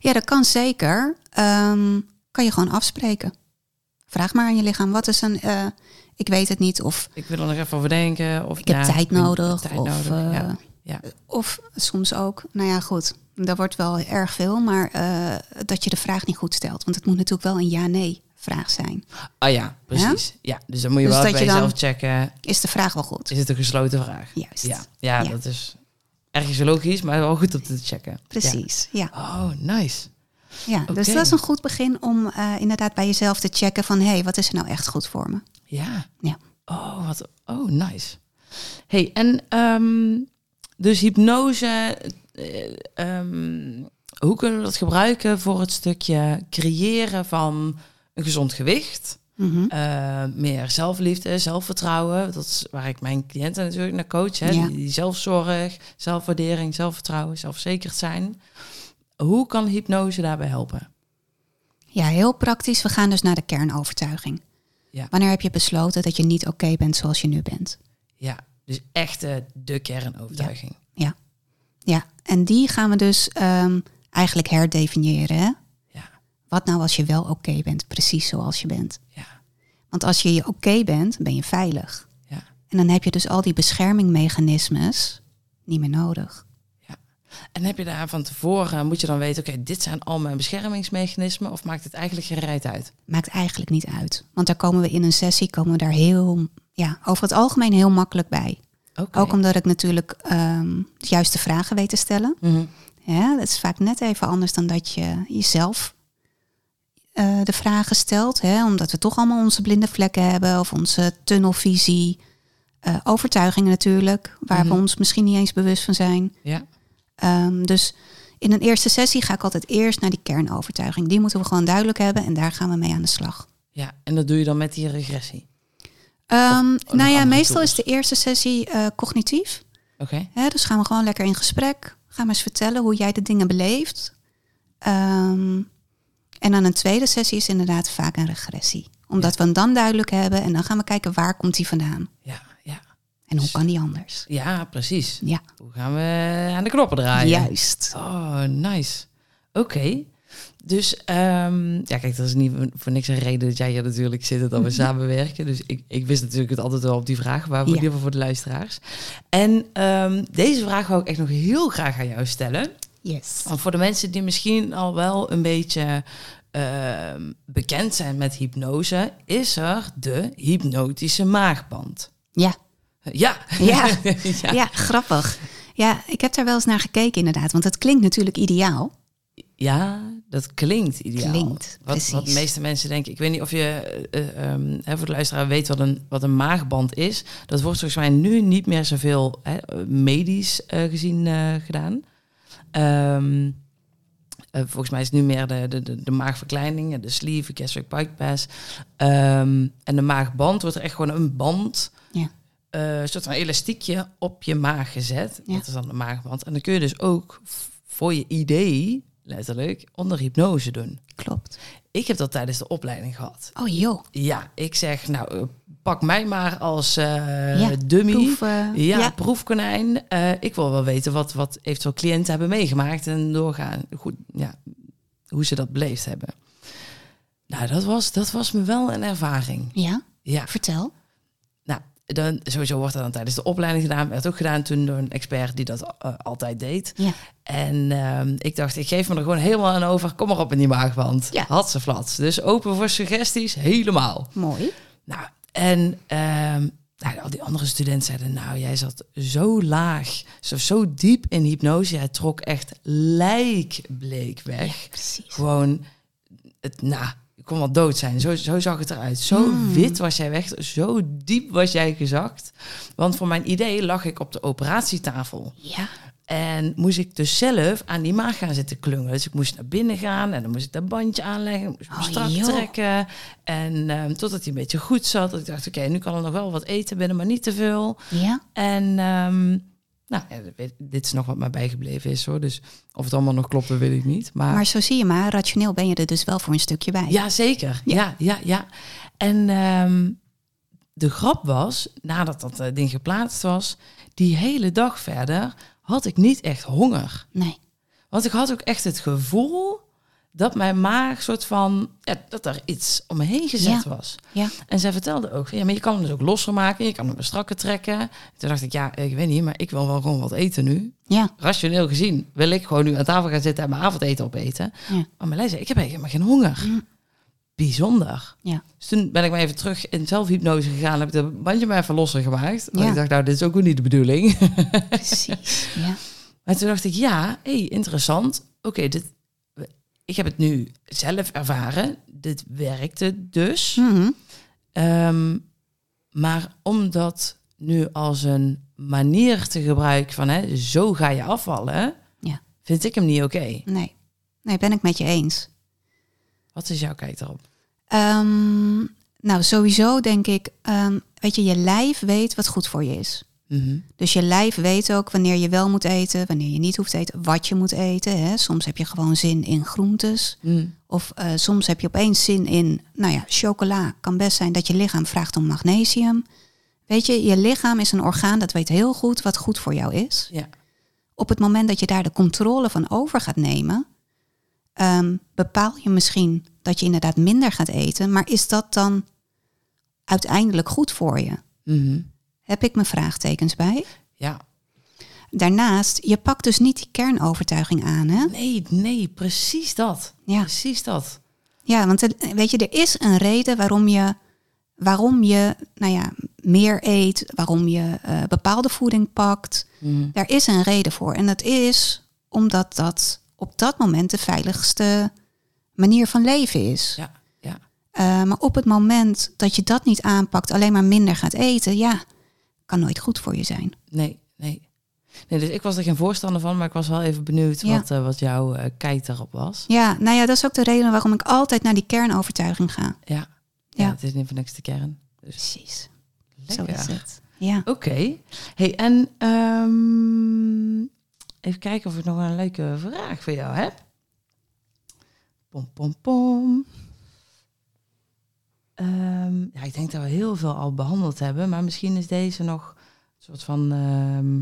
Speaker 2: Ja, dat kan zeker. Ehm, kan je gewoon afspreken. Vraag maar aan je lichaam, wat is een, eh, ik weet het niet, of
Speaker 1: Ik wil er nog even over denken. Of,
Speaker 2: ik heb
Speaker 1: ja,
Speaker 2: tijd
Speaker 1: ik heb
Speaker 2: nodig.
Speaker 1: tijd
Speaker 2: of,
Speaker 1: nodig,
Speaker 2: eh,
Speaker 1: ja. Ja.
Speaker 2: of soms ook, nou ja, goed, dat wordt wel erg veel, maar eh, dat je de vraag niet goed stelt. Want het moet natuurlijk wel een ja-nee vraag zijn.
Speaker 1: Ah ja, precies. Ja? dus dan moet je
Speaker 2: Dus
Speaker 1: wel even
Speaker 2: dat
Speaker 1: bij
Speaker 2: je dan-
Speaker 1: jezelf checken.
Speaker 2: Is de vraag wel goed?
Speaker 1: Is het een gesloten vraag?
Speaker 2: Juist.
Speaker 1: Ja, ja,
Speaker 2: Ja.
Speaker 1: dat is ergens logisch, maar wel goed om te checken.
Speaker 2: Precies, ja.
Speaker 1: Ja. Oh, nice.
Speaker 2: ja. Dus
Speaker 1: Oké.
Speaker 2: dat is een goed begin om eh, inderdaad bij jezelf te checken van... hé, hey, wat is er nou echt goed voor me?
Speaker 1: Ja.
Speaker 2: Ja.
Speaker 1: Oh, wat. Oh, nice. hey, en ehm, dus hypnose, eh, ehm, hoe kunnen we dat gebruiken voor het stukje creëren van een gezond gewicht?
Speaker 2: Mhm.
Speaker 1: Eh, meer zelfliefde, zelfvertrouwen. Dat is waar ik mijn cliënten natuurlijk naar coach. Hè?
Speaker 2: Ja.
Speaker 1: Die, die zelfzorg, zelfwaardering, zelfvertrouwen, zelfverzekerd zijn. Hoe kan hypnose daarbij helpen?
Speaker 2: Ja, heel praktisch. We gaan dus naar de kernovertuiging.
Speaker 1: Ja.
Speaker 2: Wanneer heb je besloten dat je niet oké bent zoals je nu bent?
Speaker 1: Ja, dus echt eh, de kernovertuiging.
Speaker 2: Ja. Ja, en die gaan we dus ehm, eigenlijk herdefiniëren. Hè?
Speaker 1: Ja,
Speaker 2: Wat nou als je wel oké bent, precies zoals je bent?
Speaker 1: ja,
Speaker 2: Want als je je oké bent, ben je veilig.
Speaker 1: ja.
Speaker 2: En dan heb je dus al die beschermingmechanismes niet meer nodig.
Speaker 1: En heb je daar van tevoren, moet je dan weten, oké, dit zijn al mijn beschermingsmechanismen, of maakt het eigenlijk geen reet uit?
Speaker 2: Maakt eigenlijk niet uit. Want daar komen we in een sessie, komen we daar heel, ja, over het algemeen heel makkelijk bij.
Speaker 1: Oké.
Speaker 2: Ook omdat ik natuurlijk ehm, de juiste vragen weet te stellen.
Speaker 1: Mhm.
Speaker 2: Ja, dat is vaak net even anders dan dat je jezelf eh, de vragen stelt. Hè? Omdat we toch allemaal onze blinde vlekken hebben of onze tunnelvisie. eh, overtuigingen natuurlijk, waar we
Speaker 1: Mhm.
Speaker 2: ons misschien niet eens bewust van zijn.
Speaker 1: Ja,
Speaker 2: Ehm, dus in een eerste sessie ga ik altijd eerst naar die kernovertuiging. Die moeten we gewoon duidelijk hebben en daar gaan we mee aan de slag.
Speaker 1: ja. En dat doe je dan met die regressie.
Speaker 2: Ehm, nou ja,
Speaker 1: andere
Speaker 2: meestal
Speaker 1: tools.
Speaker 2: is de eerste sessie eh, cognitief.
Speaker 1: Oké.
Speaker 2: Hè, dus gaan we gewoon lekker in gesprek. Ga maar eens vertellen hoe jij de dingen beleeft. Ehm, en dan een tweede sessie is inderdaad vaak een regressie. Omdat we hem dan duidelijk hebben en dan gaan we kijken waar komt die vandaan.
Speaker 1: Ja, ja.
Speaker 2: En hoe kan die anders?
Speaker 1: Ja, precies.
Speaker 2: Ja,
Speaker 1: Hoe gaan we aan de knoppen draaien?
Speaker 2: juist.
Speaker 1: Oh, nice. Oké. Dus, ehm, ja, kijk, dat is niet voor niks een reden dat jij hier natuurlijk zit en dat we samenwerken. Dus ik, ik wist natuurlijk het altijd wel op die vraag, maar voor, in
Speaker 2: Ja.
Speaker 1: ieder geval voor de luisteraars. En ehm, deze vraag wou ik echt nog heel graag aan jou stellen.
Speaker 2: Yes.
Speaker 1: Want voor de mensen die misschien al wel een beetje ehm, bekend zijn met hypnose, is er de hypnotische maagband.
Speaker 2: Ja.
Speaker 1: Ja,
Speaker 2: Ja.
Speaker 1: ja.
Speaker 2: ja, grappig. Ja, ik heb daar wel eens naar gekeken inderdaad. Want het klinkt natuurlijk ideaal.
Speaker 1: Ja, dat klinkt ideaal.
Speaker 2: Klinkt,
Speaker 1: wat, wat de
Speaker 2: precies.
Speaker 1: meeste mensen denken. Ik weet niet of je, eh, ehm, hè, voor de luisteraar, weet wat een, wat een maagband is. Dat wordt volgens mij nu niet meer zoveel hè, medisch eh, gezien eh, gedaan. Ehm, eh, volgens mij is het nu meer de, de, de, de maagverkleining, de sleeve, de gastric bypass. Ehm, en de maagband wordt er echt gewoon een band,
Speaker 2: Ja.
Speaker 1: eh, een soort van elastiekje op je maag gezet.
Speaker 2: Ja.
Speaker 1: Dat is dan de maagband. En dan kun je dus ook v- voor je idee, letterlijk, onder hypnose doen.
Speaker 2: Klopt.
Speaker 1: Ik heb dat tijdens de opleiding gehad.
Speaker 2: Oh joh,
Speaker 1: Ja, ik zeg, nou, eh, pak mij maar als eh,
Speaker 2: Ja,
Speaker 1: dummy.
Speaker 2: proef. eh,
Speaker 1: Ja,
Speaker 2: ja.
Speaker 1: proefkonijn. Eh, ik wil wel weten wat, wat eventueel cliënten hebben meegemaakt en doorgaan. Goed, ja, hoe ze dat beleefd hebben. Nou, dat was, dat was me wel een ervaring.
Speaker 2: Ja,
Speaker 1: Ja,
Speaker 2: vertel.
Speaker 1: nou, dan, sowieso wordt dat dan tijdens de opleiding gedaan. Werd ook gedaan toen door een expert die dat eh, altijd deed.
Speaker 2: Ja.
Speaker 1: En ehm, ik dacht, ik geef me er gewoon helemaal aan over. Kom maar op in die maagband.
Speaker 2: Ja.
Speaker 1: Had ze flats. Dus open voor suggesties, helemaal.
Speaker 2: Mooi.
Speaker 1: Nou, en ehm, nou, al die andere studenten zeiden, nou, jij zat zo laag, zo, zo diep in hypnose. Jij trok echt lijkbleek weg.
Speaker 2: Precies.
Speaker 1: Gewoon, het, nou, ik kon wel dood zijn. Zo, zo zag het eruit. Zo
Speaker 2: Hmm.
Speaker 1: wit was jij weg, zo diep was jij gezakt. Want voor mijn idee lag ik op de operatietafel.
Speaker 2: Ja.
Speaker 1: En moest ik dus zelf aan die maag gaan zitten klungen. Dus ik moest naar binnen gaan en dan moest ik dat bandje aanleggen. Moest ik hem
Speaker 2: Oh,
Speaker 1: strak
Speaker 2: joh.
Speaker 1: trekken. En ehm, totdat hij een beetje goed zat. Dat ik dacht, oké, nu kan er nog wel wat eten binnen, maar niet te veel.
Speaker 2: Ja.
Speaker 1: En ehm, nou, ja, weet- dit is nog wat mij bijgebleven is hoor. Dus of het allemaal nog klopt, dat weet ik niet. Maar,
Speaker 2: Maar zo zie je maar, rationeel ben je er dus wel voor een stukje bij.
Speaker 1: ja, zeker. Ja, ja, ja. En ehm, de grap was, nadat dat eh, ding geplaatst was... die hele dag verder had ik niet echt honger.
Speaker 2: Nee.
Speaker 1: Want ik had ook echt het gevoel dat mijn maag soort van ja, dat er iets om me heen gezet
Speaker 2: Ja.
Speaker 1: was.
Speaker 2: Ja.
Speaker 1: En zij vertelde ook, ja, maar je kan hem dus ook losser maken, je kan hem strakker trekken. Toen dacht ik, ja, ik weet niet, maar ik wil wel gewoon wat eten nu.
Speaker 2: Ja.
Speaker 1: Rationeel gezien wil ik gewoon nu aan tafel gaan zitten en mijn avondeten opeten.
Speaker 2: Ja.
Speaker 1: Maar Marlijn zei, ik heb eigenlijk helemaal geen honger.
Speaker 2: Mm.
Speaker 1: Bijzonder.
Speaker 2: Ja.
Speaker 1: Dus toen ben ik maar even terug in zelfhypnose gegaan. Heb ik dat bandje maar even losser gemaakt. Want
Speaker 2: Ja.
Speaker 1: ik dacht, nou, dit is ook weer niet de bedoeling.
Speaker 2: Precies. Ja.
Speaker 1: Maar toen dacht ik, ja, hé, interessant. Oké, dit, ik heb het nu zelf ervaren. Dit
Speaker 2: Mm.
Speaker 1: werkte dus.
Speaker 2: Mhm.
Speaker 1: Ehm, maar om dat nu als een manier te gebruiken van hè, zo ga je afvallen,
Speaker 2: Ja.
Speaker 1: vind ik hem niet oké.
Speaker 2: Nee, nee, ben ik met je eens.
Speaker 1: Wat is jouw kijk daarop?
Speaker 2: Ehm, nou, sowieso denk ik, ehm, weet je, je lijf weet wat goed voor je is.
Speaker 1: Mhm.
Speaker 2: Dus je lijf weet ook wanneer je wel moet eten, wanneer je niet hoeft te eten, wat je moet eten. Hè. Soms heb je gewoon zin in groentes.
Speaker 1: Mhm.
Speaker 2: Of eh, soms heb je opeens zin in, nou ja, chocola. Kan best zijn dat je lichaam vraagt om magnesium. Weet je, je lichaam is een orgaan dat weet heel goed wat goed voor jou is.
Speaker 1: Ja.
Speaker 2: Op het moment dat je daar de controle van over gaat nemen, ehm, bepaal je misschien dat je inderdaad minder gaat eten. Maar is dat dan uiteindelijk goed voor je?
Speaker 1: Mhm.
Speaker 2: Heb ik mijn vraagtekens bij?
Speaker 1: ja.
Speaker 2: Daarnaast, je pakt dus niet die kernovertuiging aan. Hè?
Speaker 1: Nee, nee, precies dat.
Speaker 2: Ja.
Speaker 1: Precies dat.
Speaker 2: Ja, want het- weet je, er is een reden waarom je, waarom je nou ja, meer eet, waarom je eh, bepaalde voeding pakt.
Speaker 1: Mhm.
Speaker 2: Daar is een reden voor. En dat is omdat dat op dat moment de veiligste manier van leven is.
Speaker 1: Ja, ja.
Speaker 2: Eh, maar op het moment dat je dat niet aanpakt, alleen maar minder gaat eten, ja, kan nooit goed voor je zijn.
Speaker 1: Nee, nee. Nee, dus ik was er geen voorstander van, maar ik was wel even benieuwd
Speaker 2: Ja.
Speaker 1: wat, eh, wat jouw eh, kijk daarop was.
Speaker 2: Ja, nou ja, dat is ook de reden waarom ik altijd naar die kernovertuiging ga.
Speaker 1: Ja. Ja,
Speaker 2: Ja.
Speaker 1: het is niet van niks de kern. Dus
Speaker 2: Precies.
Speaker 1: lekker.
Speaker 2: Zo is het. Ja.
Speaker 1: Oké. Hey, en ehm, even kijken of ik nog een leuke vraag voor jou heb. Pom, pom, pom. Ehm, ja, ik denk dat we heel veel al behandeld hebben, maar misschien is deze nog een soort van ehm,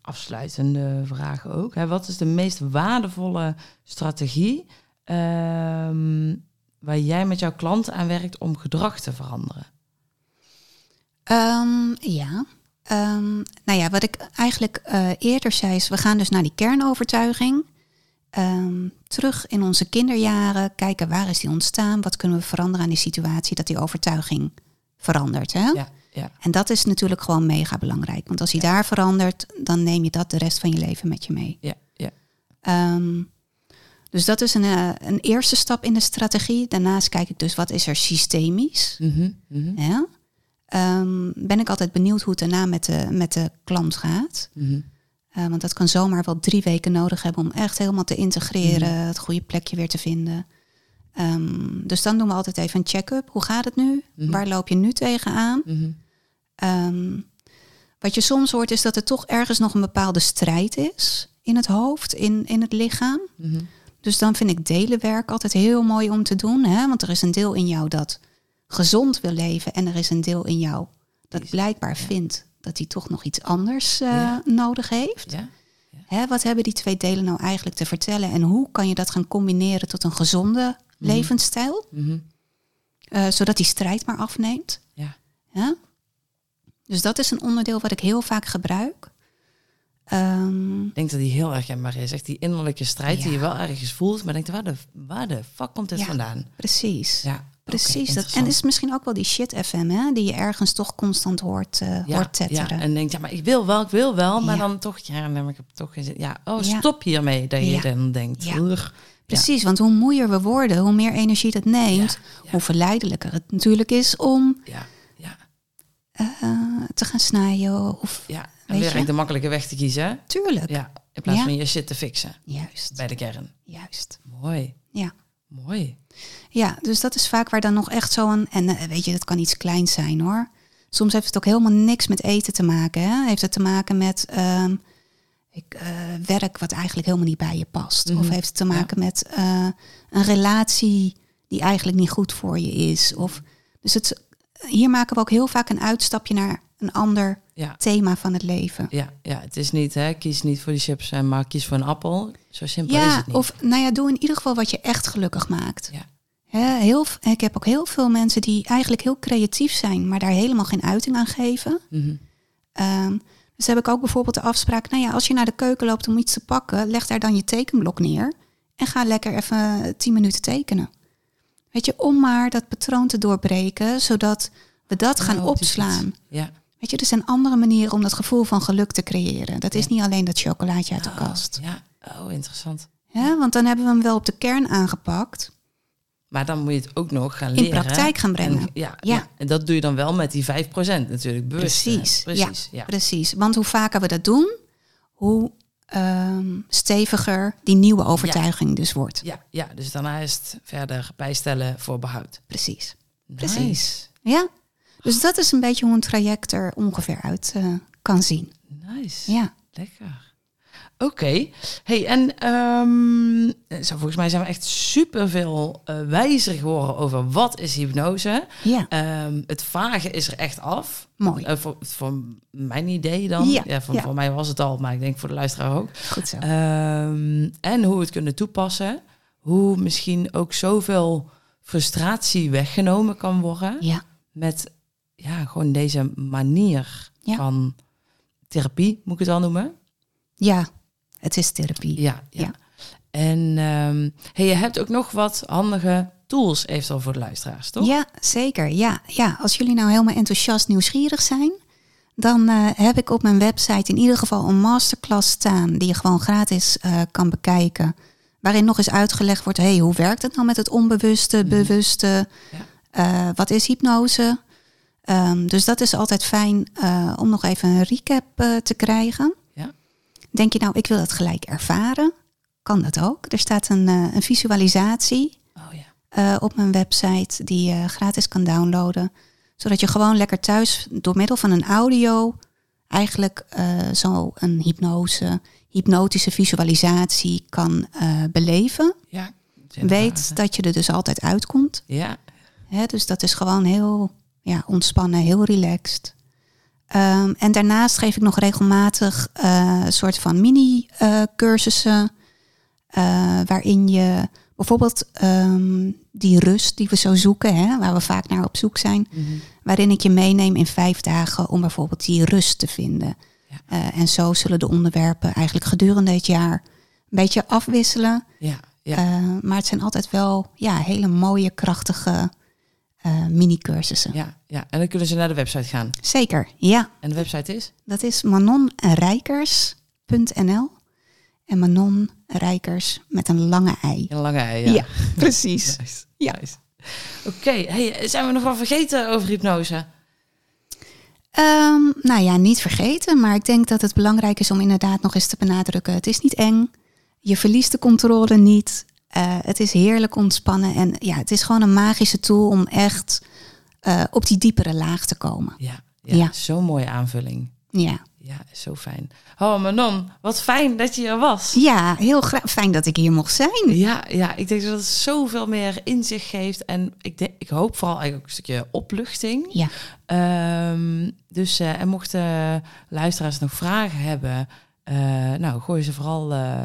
Speaker 1: afsluitende vraag ook. Hè, wat is de meest waardevolle strategie ehm, waar jij met jouw klant aan werkt om gedrag te veranderen?
Speaker 2: Ehm, ja. Ehm, nou ja, wat ik eigenlijk eh, eerder zei is, we gaan dus naar die kernovertuiging. Ehm, terug in onze kinderjaren, kijken waar is die ontstaan, wat kunnen we veranderen aan die situatie dat die overtuiging verandert. Hè?
Speaker 1: Ja, ja.
Speaker 2: En dat is natuurlijk gewoon mega belangrijk, want als die daar verandert, dan neem je dat de rest van je leven met je mee.
Speaker 1: Ja, ja.
Speaker 2: Ehm, dus dat is een, eh, een eerste stap in de strategie. Daarnaast kijk ik dus wat is er systemisch.
Speaker 1: Mhm, mhm,
Speaker 2: Ja. Ehm, ben ik altijd benieuwd hoe het daarna met de, met de klant gaat.
Speaker 1: mhm.
Speaker 2: Eh, want dat kan zomaar wel drie weken nodig hebben om echt helemaal te integreren, het goede plekje weer te vinden. Ehm, dus dan doen we altijd even een check-up. Hoe gaat het nu?
Speaker 1: Mhm.
Speaker 2: Waar loop je nu tegenaan?
Speaker 1: Mhm.
Speaker 2: Ehm, wat je soms hoort is dat er toch ergens nog een bepaalde strijd is in het hoofd, in, in het lichaam.
Speaker 1: Mhm.
Speaker 2: Dus dan vind ik delenwerk altijd heel mooi om te doen. Hè? Want er is een deel in jou dat gezond wil leven. En er is een deel in jou dat blijkbaar vindt dat hij toch nog iets anders eh,
Speaker 1: Ja.
Speaker 2: nodig heeft.
Speaker 1: Ja.
Speaker 2: Hè, wat hebben die twee delen nou eigenlijk te vertellen? En hoe kan je dat gaan combineren tot een gezonde levensstijl?
Speaker 1: Mhm.
Speaker 2: Eh, zodat die strijd maar afneemt.
Speaker 1: Ja.
Speaker 2: Ja? Dus dat is een onderdeel wat ik heel vaak gebruik. Ehm,
Speaker 1: Ik denk dat die heel erg kenbaar is. Echt die innerlijke strijd die je wel ergens voelt, maar denkt, waar de, waar de fuck komt dit
Speaker 2: Ja.
Speaker 1: vandaan?
Speaker 2: precies.
Speaker 1: Ja,
Speaker 2: Precies. dat. En is misschien ook wel die shit FM, hè? Die je ergens toch constant hoort, eh,
Speaker 1: ja,
Speaker 2: hoort tetteren.
Speaker 1: Ja, en denkt, ja, maar ik wil wel, ik wil wel, maar
Speaker 2: Ja.
Speaker 1: dan toch, ja, nee, maar ik heb toch geen zin. Ja, oh,
Speaker 2: Ja.
Speaker 1: stop hiermee, dat je
Speaker 2: Ja.
Speaker 1: dan denkt.
Speaker 2: Ja.
Speaker 1: Urgh.
Speaker 2: Precies, want hoe moeier we worden, hoe meer energie dat neemt,
Speaker 1: ja.
Speaker 2: hoe verleidelijker het natuurlijk is om
Speaker 1: Ja, ja,
Speaker 2: eh, te gaan snijden. Of
Speaker 1: ja. En
Speaker 2: Weet
Speaker 1: weer
Speaker 2: je?
Speaker 1: echt de makkelijke weg te kiezen. hè?
Speaker 2: tuurlijk.
Speaker 1: Ja, in plaats
Speaker 2: Ja.
Speaker 1: van je shit te fixen
Speaker 2: Juist,
Speaker 1: bij de kern.
Speaker 2: juist.
Speaker 1: Mooi,
Speaker 2: Ja.
Speaker 1: mooi.
Speaker 2: ja, dus dat is vaak waar dan nog echt zo'n. En eh, weet je, dat kan iets kleins zijn hoor. Soms heeft het ook helemaal niks met eten te maken. Hè? Heeft het te maken met ehm, ik, eh, werk wat eigenlijk helemaal niet bij je past.
Speaker 1: Mhm.
Speaker 2: Of heeft het te maken met eh, een relatie die eigenlijk niet goed voor je is. Of, dus het, hier maken we ook heel vaak een uitstapje naar een ander
Speaker 1: Ja.
Speaker 2: thema van het leven.
Speaker 1: Ja, ja, het is niet, hè, kies niet voor die chips, eh, maar kies voor een appel. Zo simpel is
Speaker 2: Ja,
Speaker 1: het niet.
Speaker 2: of nou ja, doe in ieder geval wat je echt gelukkig maakt.
Speaker 1: Ja.
Speaker 2: Hè, heel, v- ik heb ook heel veel mensen die eigenlijk heel creatief zijn, maar daar helemaal geen uiting aan geven.
Speaker 1: Mhm.
Speaker 2: Ehm, dus heb ik ook bijvoorbeeld de afspraak, nou ja, als je naar de keuken loopt om iets te pakken, leg daar dan je tekenblok neer en ga lekker even tien minuten tekenen. Weet je, om maar dat patroon te doorbreken, zodat we dat gaan
Speaker 1: Oh, precies.
Speaker 2: opslaan.
Speaker 1: Ja.
Speaker 2: Weet je, er zijn andere manieren om dat gevoel van geluk te creëren. Dat is niet alleen dat chocolaatje uit de
Speaker 1: Ah.
Speaker 2: kast.
Speaker 1: Ja, oh, interessant.
Speaker 2: Ja, want dan hebben we hem wel op de kern aangepakt.
Speaker 1: Maar dan moet je het ook nog gaan
Speaker 2: In
Speaker 1: leren.
Speaker 2: praktijk gaan brengen.
Speaker 1: En, ja,
Speaker 2: Ja.
Speaker 1: ja, en dat doe je dan wel met die 5% natuurlijk. Bewust.
Speaker 2: Precies,
Speaker 1: Precies.
Speaker 2: ja,
Speaker 1: Ja.
Speaker 2: precies. Want hoe vaker we dat doen, hoe ehm, steviger die nieuwe overtuiging dus wordt.
Speaker 1: Ja, ja, dus daarna is het verder bijstellen voor behoud.
Speaker 2: Precies.
Speaker 1: Nice.
Speaker 2: Precies. Ja. Dus dat is een beetje hoe een traject er ongeveer uit eh, kan zien.
Speaker 1: Nice.
Speaker 2: Ja.
Speaker 1: Lekker. Oké. Hey, en ehm, zo, volgens mij zijn we echt superveel eh, wijzer geworden over wat is hypnose.
Speaker 2: Ja.
Speaker 1: Ehm, het vage is er echt af.
Speaker 2: Mooi.
Speaker 1: Eh, voor, voor mijn idee dan.
Speaker 2: Ja,
Speaker 1: voor,
Speaker 2: ja.
Speaker 1: voor mij was het al, maar ik denk voor de luisteraar ook.
Speaker 2: Goed zo.
Speaker 1: Ehm, en hoe we het kunnen toepassen. Hoe misschien ook zoveel frustratie weggenomen kan worden
Speaker 2: ja.
Speaker 1: met ja, gewoon deze manier
Speaker 2: Ja.
Speaker 1: van therapie, moet ik het wel noemen.
Speaker 2: Ja. Het is therapie.
Speaker 1: Ja, ja.
Speaker 2: Ja.
Speaker 1: En ehm, hey, je hebt ook nog wat handige tools eventueel voor de luisteraars, toch?
Speaker 2: Ja, zeker. Ja, ja. Als jullie nou helemaal enthousiast nieuwsgierig zijn, dan eh, heb ik op mijn website in ieder geval een masterclass staan die je gewoon gratis eh, kan bekijken. Waarin nog eens uitgelegd wordt, hey, hoe werkt het nou met het onbewuste, bewuste?
Speaker 1: Mhm. Ja.
Speaker 2: Eh, wat is hypnose? Ehm, dus dat is altijd fijn eh, om nog even een recap eh, te krijgen.
Speaker 1: Ja.
Speaker 2: Denk je nou, ik wil dat gelijk ervaren? Kan dat ook. Er staat een, eh, een visualisatie
Speaker 1: Oh ja.
Speaker 2: eh, op mijn website die je gratis kan downloaden. Zodat je gewoon lekker thuis door middel van een audio eigenlijk eh, zo een hypnose, hypnotische visualisatie kan eh, beleven.
Speaker 1: Ja. dat is
Speaker 2: Weet
Speaker 1: inderdaad,
Speaker 2: dat je er dus altijd uitkomt.
Speaker 1: hè. Ja.
Speaker 2: Hè? Dus dat is gewoon heel ja, ontspannen, heel relaxed. Ehm, en daarnaast geef ik nog regelmatig eh, een soort van mini-cursussen. eh, waarin je bijvoorbeeld ehm, die rust die we zo zoeken, hè, waar we vaak naar op zoek zijn. Waarin ik je meeneem in vijf dagen om bijvoorbeeld die rust te vinden.
Speaker 1: Ja.
Speaker 2: Eh, en zo zullen de onderwerpen eigenlijk gedurende het jaar een beetje afwisselen.
Speaker 1: Ja. Ja.
Speaker 2: Eh, maar het zijn altijd wel ja, hele mooie, krachtige eh, mini-cursussen.
Speaker 1: ja. Ja. En dan kunnen ze naar de website gaan.
Speaker 2: Zeker, ja.
Speaker 1: En de website is?
Speaker 2: Dat is manonrijkers.nl. En Manon Rijkers met een lange ei.
Speaker 1: In lange ei.
Speaker 2: Ja, precies.
Speaker 1: Nice.
Speaker 2: Ja.
Speaker 1: Nice. Oké, hey, zijn we nog wat vergeten over hypnose?
Speaker 2: Ehm, nou ja, niet vergeten, maar ik denk dat het belangrijk is om inderdaad nog eens te benadrukken. Het is niet eng. Je verliest de controle niet. Eh, het is heerlijk ontspannen. En ja, het is gewoon een magische tool om echt eh, op die diepere laag te komen.
Speaker 1: Ja, ja,
Speaker 2: Ja.
Speaker 1: zo'n mooie aanvulling.
Speaker 2: Ja.
Speaker 1: Ja, zo fijn. Oh, Manon, wat fijn dat je er was.
Speaker 2: Ja, heel graag. Fijn dat ik hier mocht zijn.
Speaker 1: Ja, ja, ik denk dat het zoveel meer inzicht geeft. En ik, denk, ik hoop vooral eigenlijk ook een stukje opluchting.
Speaker 2: Ja.
Speaker 1: Ehm, dus, eh, en mochten luisteraars nog vragen hebben, eh, nou, gooi ze vooral eh,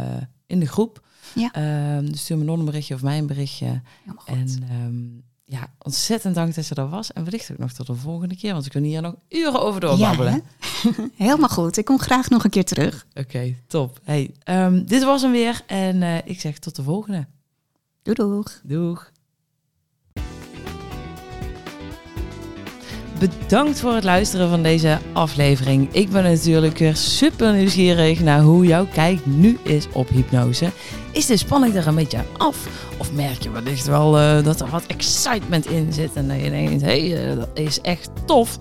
Speaker 1: in de groep.
Speaker 2: Ja.
Speaker 1: Ehm, dus stuur Manon een berichtje of mij een berichtje.
Speaker 2: Helemaal goed.
Speaker 1: En ehm, ja, ontzettend dank dat ze er was. En wellicht ook nog tot de volgende keer, want we kunnen hier nog uren over doorbabbelen.
Speaker 2: Ja, hè? Helemaal goed. Ik kom graag nog een keer terug.
Speaker 1: Oké, top. Hey, ehm, dit was hem weer. En eh, ik zeg tot de volgende.
Speaker 2: Doei doeg.
Speaker 1: Doeg. Bedankt voor het luisteren van deze aflevering. Ik ben natuurlijk weer super nieuwsgierig naar hoe jouw kijk nu is op hypnose. Is de spanning er een beetje af? Of merk je wellicht wel eh, dat er wat excitement in zit en dat je denkt, hé, eh, dat is echt tof.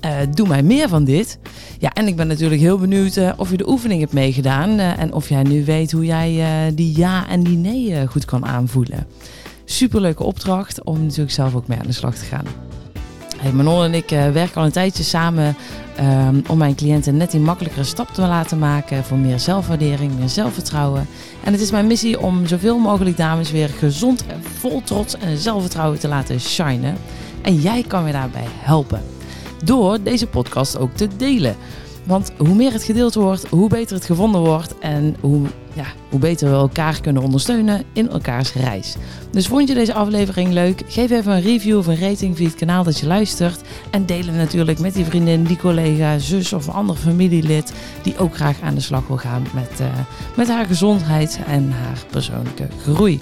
Speaker 1: Eh, doe mij meer van dit. Ja, en ik ben natuurlijk heel benieuwd eh, of je de oefening hebt meegedaan eh, en of jij nu weet hoe jij eh, die ja en die nee eh, goed kan aanvoelen. Superleuke opdracht om natuurlijk zelf ook mee aan de slag te gaan. Hey, Manon en ik eh, werken al een tijdje samen ehm, om mijn cliënten net die makkelijkere stap te laten maken voor meer zelfwaardering, meer zelfvertrouwen. En het is mijn missie om zoveel mogelijk dames weer gezond en vol trots en zelfvertrouwen te laten shinen. En jij kan me daarbij helpen door deze podcast ook te delen. Want hoe meer het gedeeld wordt, hoe beter het gevonden wordt en hoe, ja, hoe beter we elkaar kunnen ondersteunen in elkaars reis. Dus vond je deze aflevering leuk? Geef even een review of een rating via het kanaal dat je luistert. En deel het natuurlijk met die vriendin, die collega, zus of een ander familielid die ook graag aan de slag wil gaan met, eh, met haar gezondheid en haar persoonlijke groei.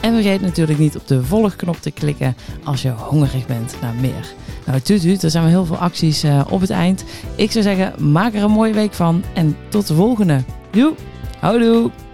Speaker 1: En vergeet natuurlijk niet op de volgknop te klikken als je hongerig bent naar meer. Nou, tuut tuut, er zijn wel heel veel acties eh, op het eind. Ik zou zeggen, maak er een mooie week van en tot de volgende. Joe, houdoe!